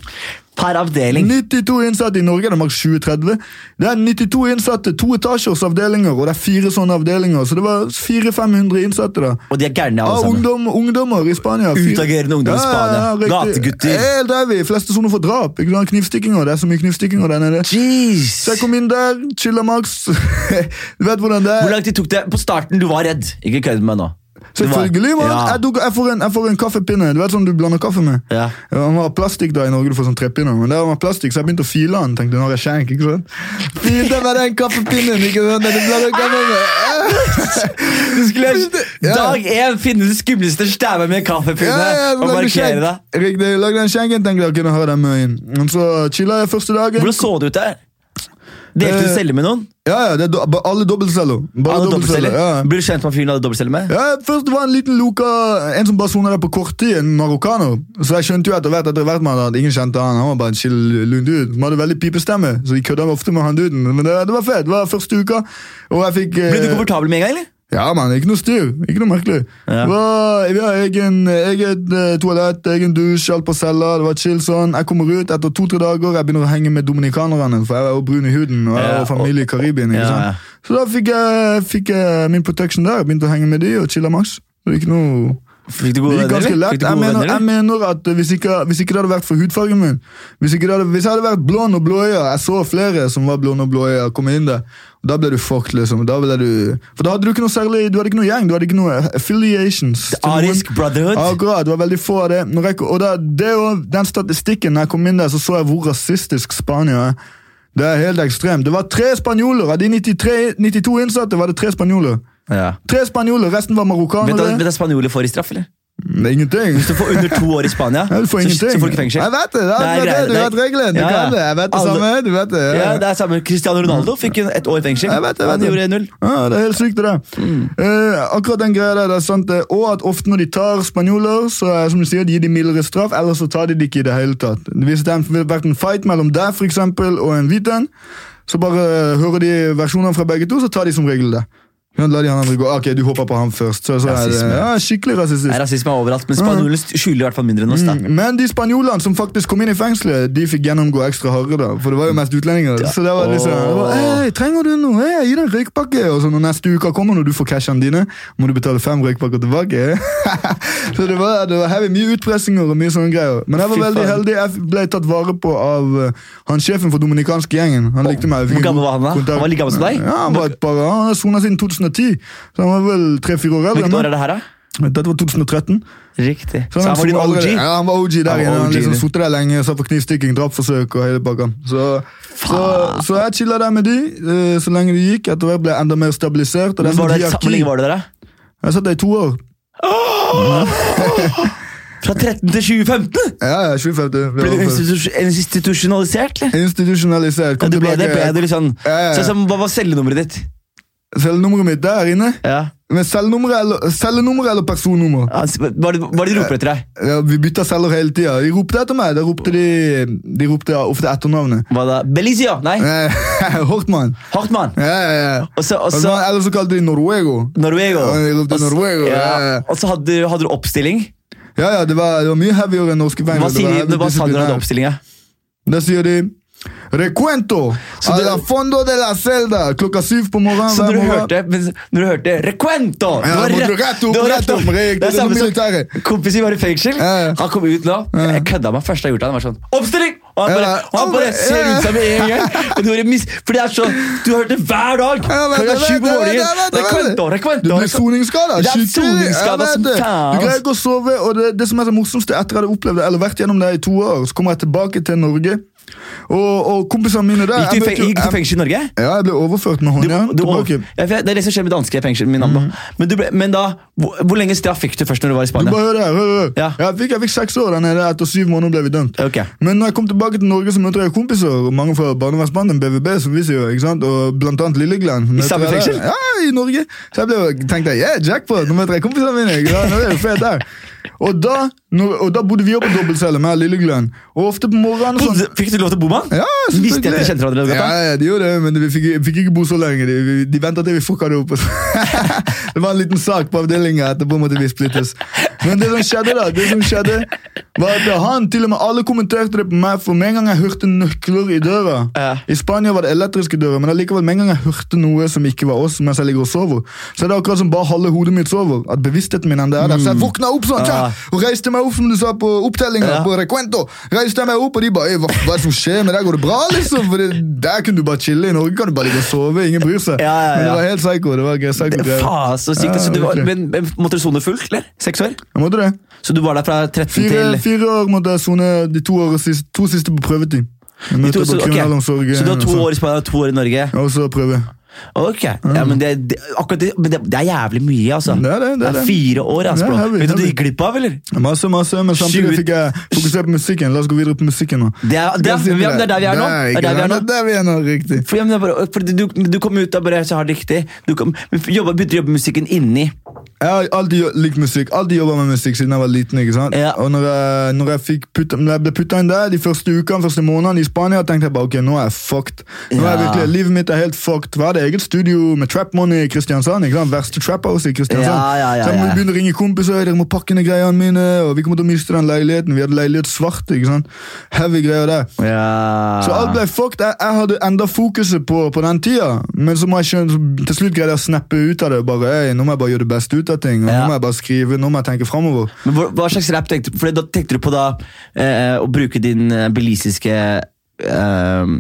A: Per avdeling
B: 92 innsatte i Norge, det er maks 20-30. Det er 92 innsatte, to etasjers avdelinger, og det er fire sånne avdelinger. Så det var 400-500 innsatte da.
A: Og de er gærne alle
B: Ja,
A: sammen
B: Ah, ungdom, ungdommer i Spania. Fy-
A: Utagerende ungdom i Spania.
B: riktig. Eh,
A: Gategutter.
B: Helt heavy. Fleste soner for drap. ikke sant? Knivstikkinger. Det er så mye knivstikkinger der nede.
A: Jeez
B: Så jeg kom inn der, chilla Max. <laughs> du vet hvordan det er.
A: Hvor lang tid tok det? På starten, du var redd. Ikke kødd med meg nå. Du var-
B: Selvfølgelig, mann.
A: Ja.
B: Jeg, tok- jeg, får en- jeg får en kaffepinne. Du vet sånn du blander kaffe med?
A: Ja.
B: Han var av plastikk da i Norge, du får sånn trepinne. Men der var han av plastikk, så jeg begynte å file han. Tenkte, nå har jeg skjenk, ikke sant? Filte med den kaffepinnen, ikke sant? Den du blander kaffe med.
A: Du skulle
B: Ja.
A: dag én finne den skumleste stæva med en kaffepinne og
B: lagde
A: markere
B: skjenk.
A: deg.
B: Riktig, lagde den skjenken, tenkte jeg kunne ha den med inn. Men så chilla jeg første dagen.
A: Hvordan så det ut der? Delte du
B: Eh,
A: celle med noen?
B: Ja, ja, det er do ba- alle dobbeltceller. Bare
A: Alle dobbeltceller?
B: Ja.
A: Ble du kjent med fyren du hadde dobbeltcelle med?
B: Ja, først var en liten loka, en som bare sonet der på kort tid, en marokkaner. Så jeg skjønte jo etter hvert etter hvert man, at ingen kjente han, han var bare en chill lund dude. Han hadde veldig pipestemme, så de kødda ofte med han duden. Men det, det var fett, det var første uka. Og jeg fikk... eh,
A: Ble du komfortabel med en gang, eller?
B: Ja, mann, ikke noe styr. Ikke noe merkelig.
A: Ja.
B: Det var, vi har egen, eget eh, toalett, egen dusj, alt på cella. Det var chill sånn. Jeg kommer ut etter to-tre dager, jeg begynner å henge med dominikanerne, for jeg er jo brun i huden, og jeg
A: Ja,
B: har familie i Karibien. ikke
A: Ja, ja.
B: sant? Så da fikk jeg, fikk jeg min protection der, begynte å henge med de og chilla maks. Det er ikke noe...
A: Fikk du
B: Det
A: gode
B: gikk
A: venner?
B: ganske
A: eller? Fikk
B: lett.
A: du
B: Jeg
A: gode
B: mener,
A: venner?
B: jeg
A: eller?
B: mener at hvis ikke, hvis ikke det hadde vært for hudfargen min Hvis, ikke det hadde, hvis jeg hadde vært blond og blåøya Jeg så flere som var blonde og blåøya komme inn der. Og da ble du fucked, liksom. Da ble du, for da hadde du ikke noe særlig Du hadde ikke noe gjeng. Du hadde ikke noe affiliations. til noen.
A: Arisk brotherhood?
B: Akkurat. Det var veldig få av det. Når jeg, og da, det er jo den statistikken når jeg kom inn der, så så jeg hvor rasistisk Spania er. Det er helt ekstremt. Det var tre spanjoler. Av de 93, 92 innsatte var det tre spanjoler.
A: Ja.
B: Tre spanjoler, Resten var
A: Vet du
B: marokkanere.
A: hva- vet du hva spanjoler får i straff, eller?
B: Det er Ingenting.
A: Hvis du får under to år i
B: <laughs>
A: Spania,
B: Ja, du får
A: så,
B: ingenting.
A: så får du ikke fengsel.
B: Jeg vet det! det,
A: Nei,
B: er, det,
A: greier,
B: du
A: det er-
B: vet reglene! Du
A: Ja, ja.
B: kan det! Jeg vet det
A: Alle-
B: samme! Du vet det! Mm.
A: Ja, det er samme. Cristiano Ronaldo fikk en- ett år i fengsel.
B: Jeg vet det, jeg
A: Han
B: vet det.
A: gjorde null.
B: Ja, det er helt sykt, det der.
A: Mm.
B: Eh, akkurat den greia der, det er sant det. Og at ofte når de tar spanjoler, så er, som du sier, de gir de mildere straff, ellers så tar de det ikke i det hele tatt. Hvis det har vært en fight mellom deg for eksempel, og en hvit en, så bare eh, hører de versjonene fra begge to, så tar de som regel det. Ja, La de han andre gå. Ah, Ok, du hopper på ham først. Så, så er det,
A: Rasisme.
B: ja, skikkelig
A: Det er
B: rasistisk.
A: rasisme overalt,
B: Mm.
A: men spanjolene skylder i hvert fall mindre enn oss. da.
B: Men de spanjolene som faktisk kom inn i fengselet, de fikk gjennomgå ekstra hardere. da, For det var jo mest utlendinger. Så det var liksom det var, Hei, trenger du noe? Hei, gi deg en røykpakke. Og så når neste uke kommer, når du får cashene dine, må du betale fem røykpakker tilbake. <laughs> så det var, det var heavy. Mye utpressinger og mye sånne greier. Men jeg var
A: Fy
B: veldig
A: faen.
B: heldig. Jeg ble tatt vare på av eh, han sjefen for dominikanske gjengen. Han likte meg. Jeg fikk
A: Hvor
B: en
A: gammel
B: god
A: var han da?
B: kontakt.
A: Han var like gammel som deg?
B: Ja, han var et par, han har sonet siden 2010. Så han var vel tre-fire år eldre.
A: Hvilket år er
B: enn meg.
A: det her, da?
B: Dette var 2013.
A: Riktig.
B: Så han,
A: var din
B: allerede-
A: OG?
B: Ja, han var OG der
A: var
B: inne. Han
A: OG,
B: liksom
A: du.
B: suttet der lenge, satt på knivstikking, drapsforsøk og hele pakka. Så, så, så jeg chilla der med de eh, så lenge det gikk. Etter hvert ble jeg enda mer stabilisert. Og det
A: Men
B: er sånn
A: var det,
B: hierarki.
A: hvor lenge var det der, da?
B: Jeg satt der i to år.
A: Fra 13 til 2015?
B: Ja, ja, 25. det var
A: Ble du
B: for-
A: institus- institusjonalisert, eller?
B: Institusjonalisert.
A: Ja,
B: Kom
A: du ble det, ble du
B: tilbake.
A: litt sånn
B: Ja, ja, ja.
A: Sånn som, Hva var cellenummeret ditt?
B: Cellenummeret mitt der inne.
A: Ja.
B: Men cellenummer eller, cellenummer eller personnummer?
A: Han s- Hva er det hva er det de roper etter deg?
B: Ja, vi bytta celler hele tida. De ropte etter meg. Da ropte de, de ropte ofte etternavnet. <laughs>
A: Hva da? Belizia? Nei,
B: Eh, Hortmann.
A: Hartmann.
B: Ja, ja, ja.
A: Og så, og så
B: Eller eller så kalte de Norwego.
A: Norwego.
B: Ja, de ropte
A: Og s-
B: Norwego, ja, ja.
A: Og så hadde, du- hadde du oppstilling.
B: Ja, ja, det var, det var mye heavyere enn norske fengsler.
A: Hva,
B: Det
A: sier
B: var
A: de,
B: heavy
A: hva sa dere hadde
B: disiplinær.
A: oppstillinga?
B: Da sier de Recuento
A: Så
B: a
A: det-
B: la fondo de la celda klokka syv på morgenen.
A: Så
B: hver
A: når du
B: morgen.
A: hørte, men, når du hørte Recuento!
B: Ja,
A: det var
B: må du
A: rett-
B: rett opp,
A: det var
B: rett opp, Rick,
A: Det
B: det
A: er
B: er
A: samme
B: noe
A: som
B: militære.
A: kompisen min var i fengsel.
B: Ja, ja.
A: Han kom ut nå. Jeg kødda meg første jeg gjorde. det, Han var sånn Oppstilling! Og han bare,
B: Ja,
A: og han bare
B: ja.
A: ser ut seg med en gang. Og du, mis, for det er sånn, du har hørt det hver dag!
B: Ja, men
A: Klokka
B: det
A: sju på
B: vet jeg, det
A: morgenen.
B: vet jeg, det vet jeg.
A: Recuento,
B: Du
A: Recuento.
B: blir soningsskada.
A: Det er
B: skikkelig.
A: soningsskada
B: Jeg
A: som
B: vet det.
A: faen,
B: Du
A: ass.
B: greier ikke å sove. Og det, det som er det morsomste etter at jeg hadde opplevd det, eller vært gjennom det i to år, så kommer jeg tilbake til Norge. Og, og kompisene mine der
A: Gikk du, i
B: jeg
A: fe-
B: vet jo-
A: gikk du i
B: jeg-
A: fengsel i Norge?
B: Ja, jeg ble overført med
A: Du,
B: hånda.
A: du,
B: tilbake. Mm.
A: ja, for det er det som skjer med danske i fengsel. Min nabo. men, du ble, men da, hvor, hvor lenge straff fikk du først når du var i
B: Du
A: Spania?
B: bare hør her, hør, hør.
A: Ja.
B: Jeg, fikk, jeg fikk seks år der nede. Etter syv måneder ble vi dømt.
A: Ok.
B: Men når jeg kom tilbake til Norge, så møtte jeg kompiser, og mange fra barnevernsbanden, BVB, som vi sier, ikke sant? og blant annet Lilleglenn. møter
A: samme
B: jeg der.
A: fengsel?
B: Ja, i Norge. Så jeg ble, jo- tenkte jeg, yeah, jackpot, nå møter jeg kompisene mine. ikke sant? Nå er det jo fett der. Og da, når, og da bodde vi oppe på dobbeltcelle med Lilleglenn. Og ofte på morgenen og sånn.
A: Bodde- Fikk du lov til å bo med han?
B: Ja, selvfølgelig.
A: Visste jeg at de kjente hverandre i gata?
B: Ja, ja, de gjorde det, men vi fikk, fikk ikke bo så lenge. De, vi- de ventet til vi fucka det opp. <laughs> det var en liten sak på avdelinga. Etterpå måtte vi splittes. Men det som skjedde, da, det som skjedde var at han til og med alle kommenterte det på meg, for med en gang jeg hørte nøkler i døra
A: Ja.
B: I Spania var det elektriske dører, men allikevel, med en gang jeg hørte noe som ikke var oss, mens jeg ligger og sover, så er det akkurat som bare halve hodet mitt sover. At bevisstheten min er der.
A: Mm.
B: Så jeg våkna opp sånn, tja,
A: Ja.
B: og reiste meg opp, som du sa, på opptellinga.
A: Ah. Ja.
B: på Recuento. Reiste jeg meg opp, og de bare «Øy, hva, hva er det som skjer med deg? Går det bra, liksom? For det, Der kunne du bare chille. I Norge kan du bare ligge og sove. Ingen bryr seg.
A: Ja, ja, ja.
B: Men det var helt psycho. Det var gøy, psycho greier.
A: Faen, så sykt.
B: Ja,
A: så du var,
B: virkelig.
A: men, men måtte du sone fullt, eller? Seks år?
B: Jeg måtte det.
A: Så du var der fra 13
B: Fire,
A: til
B: fire år måtte jeg sone de to, årene siste, to siste på prøvetid. Jeg
A: De
B: møtte
A: to-
B: på
A: så, ok.
B: kriminalomsorgen,
A: så du har
B: og
A: to
B: så-
A: år i Spania og to år i Norge?
B: Og så prøve.
A: Ok. Ja, men det, det, akkurat det, men det, det er jævlig mye, altså.
B: Det er det, det er det.
A: fire år, altså,
B: Det er
A: bro.
B: heavy,
A: Vet du hva du
B: heavy.
A: gikk glipp av, eller?
B: Masse, masse, men samtidig
A: Tjue-
B: fikk jeg fokusert på musikken. La oss gå videre på musikken nå.
A: Det er, det er, ja, men det er der vi er nå. Det er der vi er nå.
B: Det er der vi er nå, riktig.
A: For, ja, men det er bare, for du, du kom ut av bare så har det riktig. Du kom, men jobba, begynte å jobbe med musikken inni.
B: Jeg har alltid jo- likt musikk. Alltid jobba med musikk siden jeg var liten. ikke sant?
A: Ja.
B: Og når jeg, når jeg, fikk putta- når jeg ble putta inn der de første ukene, første månedene i Spania, tenkte jeg bare ok, nå er jeg fucked. Nå er jeg
A: Ja.
B: virkelig, Livet mitt er helt fucked. Hva er det eget studio med Trap Money i Kristiansand? ikke sant? Verste trap house i Kristiansand.
A: Ja, ja, ja,
B: så jeg må
A: ja.
B: begynne å ringe kompiser, dere må pakke ned greiene mine, og vi kommer til å miste den leiligheten. Vi hadde leilighet svart. ikke sant? Heavy greier der.
A: Ja.
B: Så alt ble fucked. Jeg, jeg hadde enda fokuset på, på den tida, men så må jeg skjønne, til slutt greide jeg å snappe ut av det. og Bare, «Ei, Nå må jeg bare gjøre det beste ut av ting. og
A: Ja.
B: Nå må jeg bare skrive, nå må jeg tenke framover.
A: Men hva, hva slags rap tenkte du Fordi da tenkte du på da eh, å bruke din eh, belisiske eh,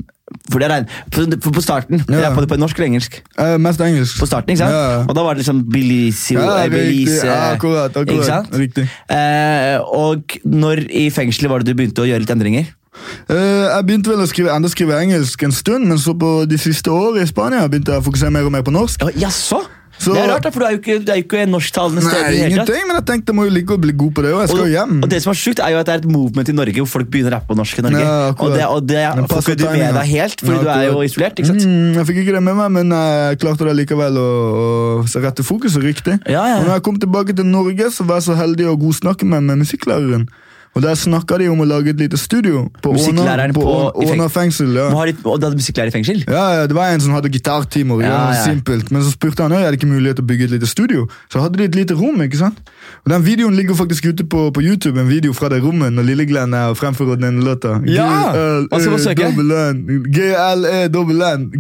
A: for, det regner, for, for på starten
B: Ja.
A: Jeg på det på norsk eller engelsk?
B: mest engelsk.
A: På starten, ikke sant?
B: Ja.
A: Og da var det liksom Belisio,
B: Ja,
A: eh,
B: riktig.
A: Belize
B: Ja, akkurat, akkurat.
A: Ikke sant?
B: Riktig.
A: Eh, og når i fengselet var det du begynte å gjøre litt endringer?
B: Eh, jeg begynte vel å skrive, enda skrive engelsk en stund, men så på de siste årene i Spania begynte jeg å fokusere mer og mer på norsk.
A: Ja, Jaså?
B: Så-
A: Det er rart, da, for du er jo ikke, du er jo ikke norsktalende
B: Nei,
A: steder. i det hele tatt.
B: ingenting, men jeg tenkte jeg må jo like å bli god på det, og jeg skal jo hjem.
A: Og, og det som er sjukt, er jo at det er et movement i Norge hvor folk begynner å rappe på norsk i Norge.
B: Ja, akkurat.
A: og det, og det
B: Den
A: får
B: passer
A: ikke du med
B: timingen.
A: deg helt, fordi
B: Ja,
A: du er jo
B: akkurat.
A: isolert. ikke sant?
B: Mm, jeg fikk ikke det med meg, men jeg klarte det likevel å, å rette fokuset riktig.
A: Ja, ja.
B: Og når jeg kom tilbake til Norge, så var jeg så heldig å godsnakke meg med musikklæreren. Og der snakka de om å lage et lite studio på Åna
A: Musikklæreren
B: på
A: på- i
B: Åna- Åna fengsel.
A: Må
B: Ja.
A: ha litt, og du hadde musikklærer i fengsel?
B: Ja, ja, det var en som hadde gitartimer. Ja,
A: Ja, ja.
B: simpelt. Men så spurte han om det ikke mulighet til å bygge et lite studio. Så hadde de et lite rom. ikke sant? Og Den videoen ligger faktisk ute på, på YouTube, en video fra det rommet når Lille-Glenn er og fremfører den ene låta. E
A: Ja! Altså, Hva skal man søke?
B: G-L-E-N.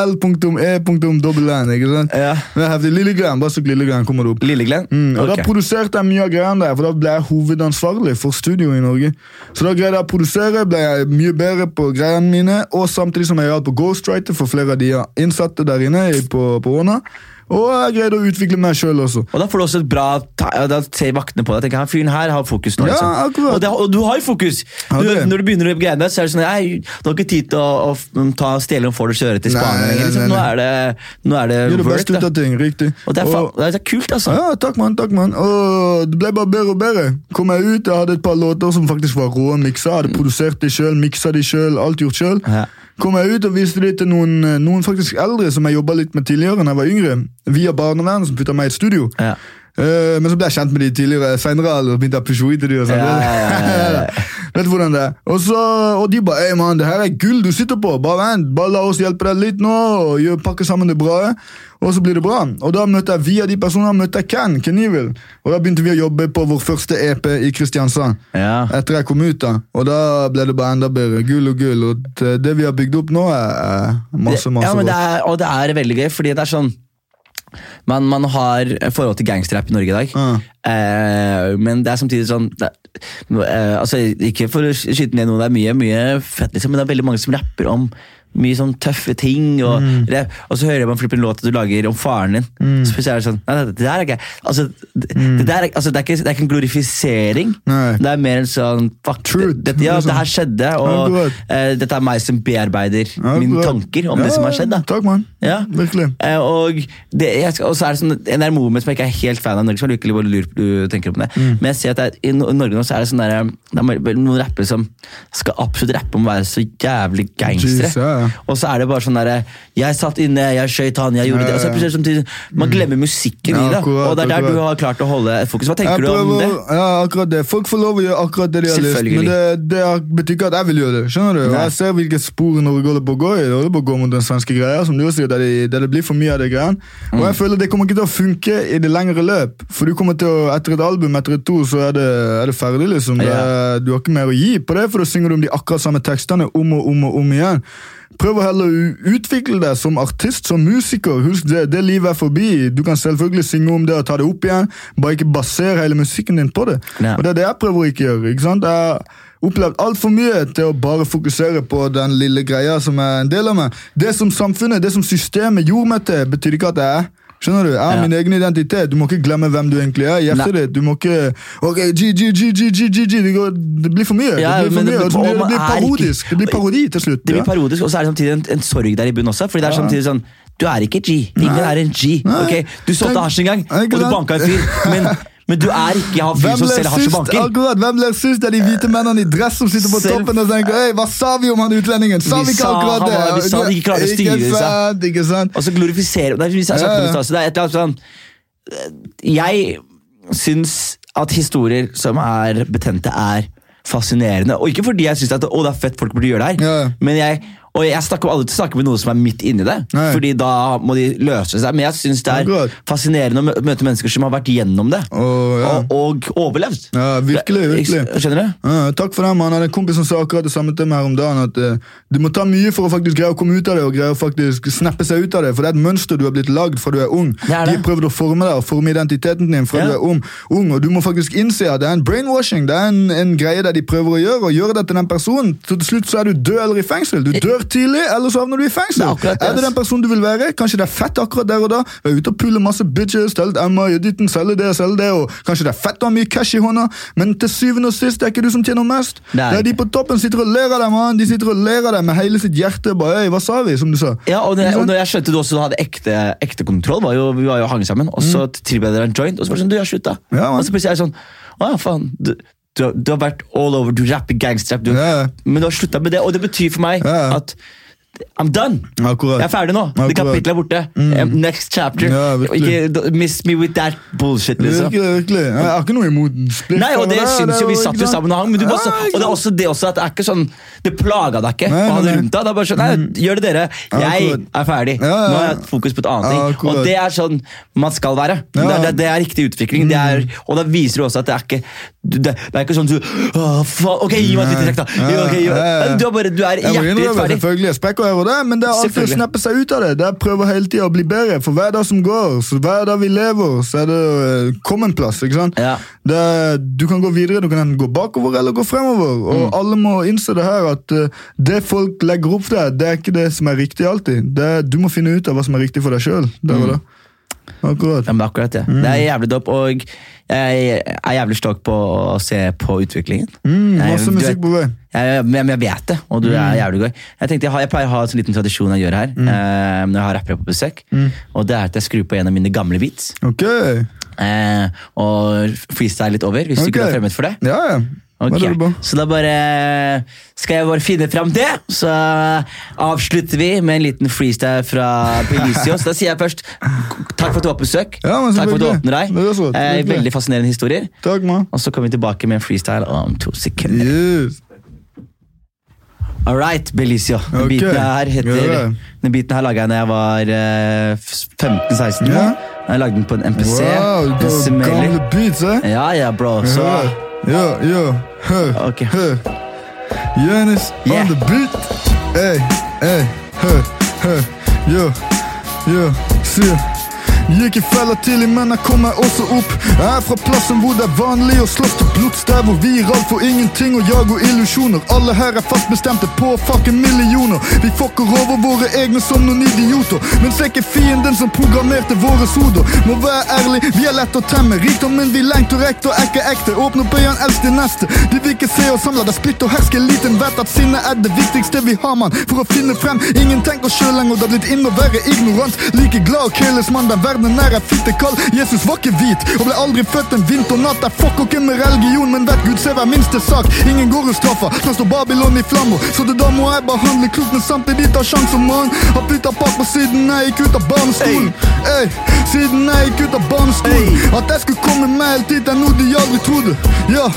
B: E G.L.E.N. Ikke sant?
A: Ja.
B: Det er heftig. Lille-Glenn, bare søk Lille-Glenn, kommer det opp.
A: Lille-Glenn?
B: Mm, og
A: Ok.
B: Da produserte jeg mye av greiene der, for da ble jeg hovedansvarlig for studio i Norge. Så da greide jeg å produsere, ble jeg mye bedre på greiene mine, og samtidig som jeg hjalp på ghostwriter for flere av de innsatte der inne i- på, på Åna. Og jeg greide å utvikle meg sjøl også.
A: Og da får du også et bra ta- ja, Da ser vaktene på deg og tenker han fyren her har fokus nå.
B: Ja,
A: liksom.
B: akkurat.
A: og, det, og du har jo fokus!
B: Ja,
A: Du,
B: det.
A: når du begynner å greiene, så er det sånn Nei, du har ikke tid til å, å f- mm, ta stjele om får du kjøre til Spania
B: Nei,
A: lenger. Liksom.
B: nei,
A: Nå
B: nei.
A: er det, nå er det
B: Gjør det
A: work,
B: beste ut
A: da.
B: av ting. Riktig.
A: Og det er, fa det er kult, altså.
B: Ja, takk mann, takk mann. Og det ble bare bedre og bedre. Kom jeg ut, jeg hadde et par låter som faktisk var rå miksa. Hadde produsert de sjøl, miksa de sjøl, alt gjort sjøl.
A: Mm. Ja.
B: Kom jeg ut og viste det til noen, eh, noen faktisk eldre som jeg jobba litt med tidligere, når jeg var yngre. Via barnevernet, som putta meg i et studio.
A: Ja.
B: Eh, men så ble jeg kjent med de tidligere senere, og begynte jeg å pushe ut til de og sånn.
A: Ja, ja, ja, ja,
B: <laughs> Vet du hvordan det er? Og, så, og de bare 'Ei, mann, det her er gull du sitter på. Bare vent, bare la oss hjelpe deg litt nå, og gjør, pakke sammen det bra.' Og så blir det bra. Og da møtte jeg via de personene møtte jeg Ken Kenivel. Og da begynte vi å jobbe på vår første EP i Kristiansand.
A: Ja.
B: Etter jeg kom ut, da. Og da ble det bare enda bedre. Gull og gull. Og t- det vi har bygd opp nå, er er masse, masse
A: ja, men det
B: bra.
A: er, Og det er veldig gøy, fordi det er sånn man, man har forhold til gangsterrap i Norge i dag,
B: Ja.
A: eh, men det er samtidig sånn det, er- eh, altså, Ikke for å sky- skyte ned noen, det er mye, mye fett, liksom, men det er veldig mange som rapper om mye sånn tøffe ting. Og,
B: Mm.
A: rap, og så hører man flippe en låt du lager om faren din. Så plutselig er det sånn Nei, det, det der er ikke altså, det,
B: Mm.
A: det, der, er- altså, det, er ikke, det er ikke en glorifisering.
B: Nei.
A: Det er mer en sånn fuck,
B: Truth,
A: Det, det, ja,
B: liksom.
A: det her skjedde, og
B: Akkurat.
A: eh, dette er meg som bearbeider
B: Ja,
A: mine
B: bra.
A: tanker om
B: Ja,
A: det som har skjedd. da.
B: Takk, mann.
A: Ja.
B: Virkelig.
A: Eh, Og, det, jeg skal, og så er det sånn, en der moment som jeg ikke er helt fan av i Norge, som jeg lurer på hvor lurt du tenker om det.
B: Mm.
A: Men jeg ser at det, er- i No- Norge nå så er det sånn der, det er bare noen rappere som skal absolutt rappe om å være så jævlig gangstere.
B: Jeez, ja, ja.
A: Og så er det bare sånn derre Jeg satt inne, jeg skøyt han, jeg gjorde det. Og så er det plutselig samtidig, Man glemmer musikken i
B: Mm. Ja,
A: det.
B: akkurat,
A: Og det er der
B: akkurat.
A: du har klart å holde fokus. Hva
B: Jeg
A: tenker du om
B: prøver-
A: det?
B: Ja, akkurat det. Folk får lov å gjøre akkurat det de har lyst
A: Selvfølgelig.
B: men det, det er- betyr ikke at jeg vil gjøre det. skjønner du? Og
A: Nei.
B: Jeg ser hvilket spor Norge holder på å gå i. Det holder på å gå mot den svenske greia, som du også sier, der, de, der det blir for mye av det greien. Og
A: Mm.
B: jeg føler det kommer ikke til å funke i det lengre løp. For du kommer til å, etter et album, etter et to, så er det, er det ferdig, liksom. Det,
A: Ja.
B: er- Du har ikke mer å gi på det, for da synger du om de akkurat samme tekstene om og om og om igjen. Prøv å heller u- utvikle deg som artist, som musiker. Husk det, det livet er forbi. Du kan selvfølgelig synge om det og ta det opp igjen, bare ikke basere hele musikken din på det.
A: Ja.
B: Og det er det jeg prøver å ikke gjøre. ikke sant? Jeg har opplevd altfor mye til å bare fokusere på den lille greia som er en del av meg. Det som samfunnet, det som systemet gjorde meg til, betyr ikke at jeg er. Skjønner du? Jeg har
A: Ja.
B: min egen identitet. Du må ikke glemme hvem du egentlig er. i Hjertet ditt. Du må ikke Ok, G, G, G, G, G, G, G. Det, går, det blir for mye.
A: Ja,
B: det
A: men det
B: blir, for mye.
A: blir-
B: og så blir,
A: og
B: det blir
A: man er ikke-
B: parodisk. Det blir parodi til slutt.
A: Det blir
B: ja.
A: parodisk, og så er det samtidig en, en sorg der i bunnen også. Fordi det er
B: Ja.
A: samtidig sånn Du er ikke G. Ingen
B: Nei.
A: er en G.
B: Nei.
A: ok? Du solgte
B: Tenk-
A: hasj en gang,
B: Ikke
A: og du
B: sant?
A: banka en fyr, men, men du er ikke han fyren
B: Hvem
A: som
B: ler
A: selger hasj og
B: sist?
A: banker.
B: Akkurat, hvem ler sist? Det er de hvite mennene i dress som sitter på
A: Selv-
B: toppen og tenker Hei, hva sa vi om han utlendingen? Sa
A: Vi
B: vi ikke
A: sa
B: akkurat
A: han
B: det?
A: var- vi sa han ikke klarte å styre seg.
B: Ikke sant? Ikke sant?
A: Og så glorifiserer Nei, vi sa-
B: Ja, ja.
A: snakket om det i stad, så Det er et eller annet sånn jeg syns at historier som er betente, er fascinerende. Og ikke fordi jeg syns at å, det er fett folk burde gjøre det her,
B: Ja, ja.
A: men jeg og jeg snakker aldri til å snakke med noen som er midt inni det,
B: Nei.
A: Fordi da må de løse seg. Men jeg syns det
B: Akkurat.
A: er fascinerende å mø- møte mennesker som har vært gjennom det,
B: Og, ja.
A: og, og overlevd.
B: ja, virkelig, virkelig.
A: Jeg- Skjønner du?
B: Ja, takk for den, mann. Jeg hadde En kompis som sa akkurat det samme til meg her om dagen. At eh, du må ta mye for å faktisk greie å komme ut av det og greie å faktisk snappe seg ut av det. For det er et mønster du har blitt lagd fra du er ung.
A: Det er
B: De
A: det.
B: har prøvd å forme deg og forme identiteten din
A: Ja.
B: fra du er ung, ung. Og du må faktisk innse at det er en brainwashing. Det er en, en greie der de prøver å gjøre, og gjøre det til den personen. Så til slutt så er du død eller i fengsel. Du dør tidlig, eller så havner du i fengsel.
A: Det er akkurat det,
B: er det
A: ass.
B: den personen du vil være? Kanskje det er fett akkurat der og da. Være ute og pulle masse bitches, stelle et Emma, gjøre ditten, selge det, selge det, og kanskje det er fett å ha mye cash i hånda, men til syvende og sist det er ikke du som tjener mest.
A: Det
B: Det
A: er
B: er de på toppen sitter og ler av deg, mann. De sitter og ler av deg med hele sitt hjerte. Bare, «Øy, hva sa vi, som du sa?
A: Ja, og når, jeg- og når jeg skjønte du også hadde ekte, ekte kontroll, var jo, vi var jo hang sammen, og så tilbød jeg deg en joint, og så var det sånn, du, jeg har slutta.
B: Mm. Ja, man.
A: og så plutselig er det sånn, å ja, faen, du, du, har- du har vært all over, du rapper gangsterrap, du,
B: Ja, ja.
A: men du har slutta med det, og det betyr for meg
B: Ja, ja.
A: at I'm done!
B: Akkurat.
A: Jeg er ferdig nå. Det
B: Akkurat.
A: kapittelet er borte. Um, Next chapter.
B: Mm. Ja,
A: Og
B: virkelig.
A: ikke miss me with that bullshit, liksom.
B: Virkelig, virkelig. Jeg har ikke noe imot splitt.
A: Nei, og det syns jo vi satt jo sammen og hang, men du bare, sa- og det er også det også at det er ikke sånn Det plaga deg ikke.
B: Nei,
A: og han
B: nei, nei.
A: rundt deg, det er bare sånn, nei, Gjør det, dere. Jeg
B: Akkurat.
A: er ferdig.
B: Ja, ja,
A: Nå har
B: ja.
A: jeg fokus på et annet ting.
B: Akkurat.
A: Og det er sånn man skal være. Det,
B: Ja. Mm.
A: er, det, det er riktig utvikling. Det er, og da viser du også at det er ikke du- Det, det er ikke sånn du «Åh, faen, Ok, gi meg et lite trekk, da.
B: Nei.
A: Ja, ok, gi meg-
B: Ja, ja, ja.
A: Du er bare du er
B: Jeg må
A: hjertelig
B: innrømme
A: ferdig.
B: selvfølgelig jeg sprekker her og der, men det er alltid å
A: Selvfølgelig.
B: snappe seg ut av det. Det er prøve hele tiden å bli bedre, for hver dag som går, så hver dag vi lever, så er det eh, kommenplass, ikke sant?
A: Ja.
B: Det er, du kan gå videre, du kan enten gå bakover eller gå fremover, og
A: Mm.
B: alle må innse det her, at eh, det folk legger opp der, det er ikke det som er riktig alltid. Det er, du må finne ut av hva som er riktig for deg selv, der
A: Mm.
B: og da. Akkurat.
A: Ja, men akkurat det.
B: Mm.
A: Det er jævlig dope, og jeg er jævlig stokk på å se på utviklingen.
B: Mm,
A: Nei,
B: masse
A: du vet-
B: musikk på vei.
A: Jeg, jeg, men jeg vet det, og du
B: Mm.
A: er jævlig god. Jeg tenkte, jeg, har, jeg pleier å ha en sånn liten tradisjon jeg gjør her, eh, når jeg har rappere på besøk.
B: Mm.
A: Og det er at jeg skrur på en av mine gamle beats
B: Ok.
A: eh, og freestyler litt over, hvis du
B: Ok.
A: ikke er fremmed for det.
B: Ja, ja. Hva
A: Ok,
B: er det du på?
A: Så da bare skal jeg bare finne fram det, så avslutter vi med en liten freestyle fra Belisios. Da sier jeg først takk for at du var på besøk.
B: Ja, men
A: takk for at du
B: selvfølgelig.
A: åpner deg.
B: Det er så,
A: Eh,
B: selvfølgelig.
A: veldig fascinerende historier.
B: Takk,
A: <laughs>
B: man.
A: Og så kommer vi tilbake med en freestyle om to sekunder.
B: Yes.
A: All right, Belicio. Den
B: Ok.
A: biten her heter
B: Gjør det.
A: Den biten her laga jeg da jeg var eh, f- 15-16 år.
B: Ja.
A: Jeg lagde den på en MPC.
B: Wow,
A: en Smelly.
B: gamle beats, eh?
A: Ja, ja, bro. Så
B: Hør, ja, ja, hør,
A: Ok.
B: hør. Jonis
A: Yeah.
B: on the beat. Ey, ey, hør, hør. Ja, ja, sier. Gikk i fella tidlig, men jeg kom meg også opp. Jeg er fra plassen hvor det er vanlig å slåss til blods. Der hvor vi er alt for ingenting og jag og illusjoner. Alle her er fast bestemte på å fucke millioner. Vi fucker over våre egne som noen idioter. Men se ikke fienden som programmerte våre soder. Må være ærlig, vi er lett å temme. Rikdommen vi lengter ekte og ekke ekte. Åpne opp øynene, elsk de neste. De vil ikke se oss samle, det er splitt og herske. Eliten vet at sinne er det viktigste vi har, mann. For å finne frem, ingen tenker sjøl lenger. Det er blitt inn å være ignorant. Like glad og careless, mann. Den verden er ei fittekall. Jesus var ikke hvit, og ble aldri født en vinternatt. Jeg fucker ikke med religion, men vet Gud ser hver minste sak. Ingen går og straffer, nå står Babylon i flammer. Så det da må jeg behandle klokt, men samtidig ta sjanser, mann. Har putta pakk på siden jeg gikk ut av barneskolen. Ey, siden jeg gikk ut av barneskolen. At jeg skulle komme meg helt dit, er noe de aldri trodde. Ja,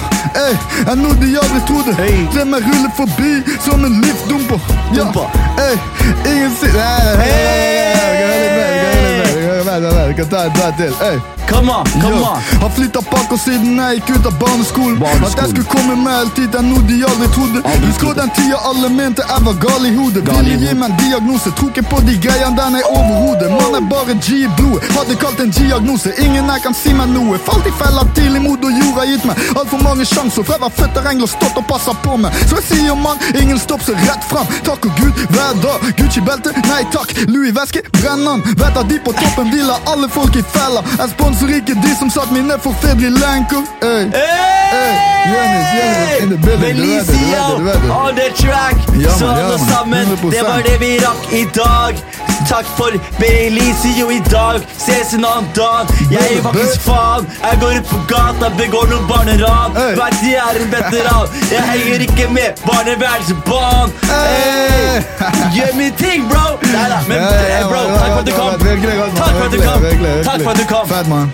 B: ey, er noe de aldri trodde.
A: Hey.
B: Se meg rulle forbi som en liftdumper. Ja,
A: Dumper.
B: ey, ingen si... Nei, nei, nei, nei, nei, nei, nei, nei, nei, nei, nei, nei, nei, nei, nei, nei, nei, ta en ta en til. Ey.
A: come on, come
B: Ja,
A: on!
B: Har flytta pakker siden jeg gikk ut av barneskolen.
A: Barneskolen.
B: At jeg skulle komme meg helt dit, er noe de aldri trodde.
A: Aldri
B: Husker
A: trodde.
B: den tida alle mente jeg var gal i hodet.
A: Gal i
B: Ville gi
A: hodet.
B: meg en diagnose, tror ikke på de greiene der nei overhodet. Man er bare G i blodet, hadde kalt en diagnose. Ingen her kan si meg noe. Falt i fella tidlig, moder jord har gitt meg altfor mange sjanser. Fra jeg var født er engler stått og passa på meg. Så jeg sier mann, ingen stopp, så rett fram. Takk og Gud, hver dag. Gucci-belte, nei takk. Louis-veske, brenn han. Vet at de på toppen vil ha alle folk i fella. Jeg sponser ikke de som satt mine forferdelige lenker. Ey.
A: Hey!
B: Jonis, Jonis, in the building. Du vet det, du vet det, du vet det.
A: on the track!
B: Ja,
A: Så
B: man, ja,
A: alle
B: man.
A: sammen, det
B: 100%.
A: var det vi rakk i dag. Takk for Belicio i dag. Ses en annen dag. Jeg gir faktisk faen. Jeg går ut på gata, begår noen barneran.
B: Hey.
A: Vet jeg er en veteran. Jeg henger ikke med barnevernsbarn.
B: Hey.
A: Hey. Gjør min ting, bro! Neida, men
B: <laughs> Ja, ja, ja,
A: eh, bro, eh,
B: ja, ja,
A: takk for at du
B: ja,
A: kom.
B: ja, virkelig godt, man.
A: Takk for at du kom. Takk for at du kom.
B: Fett, mann.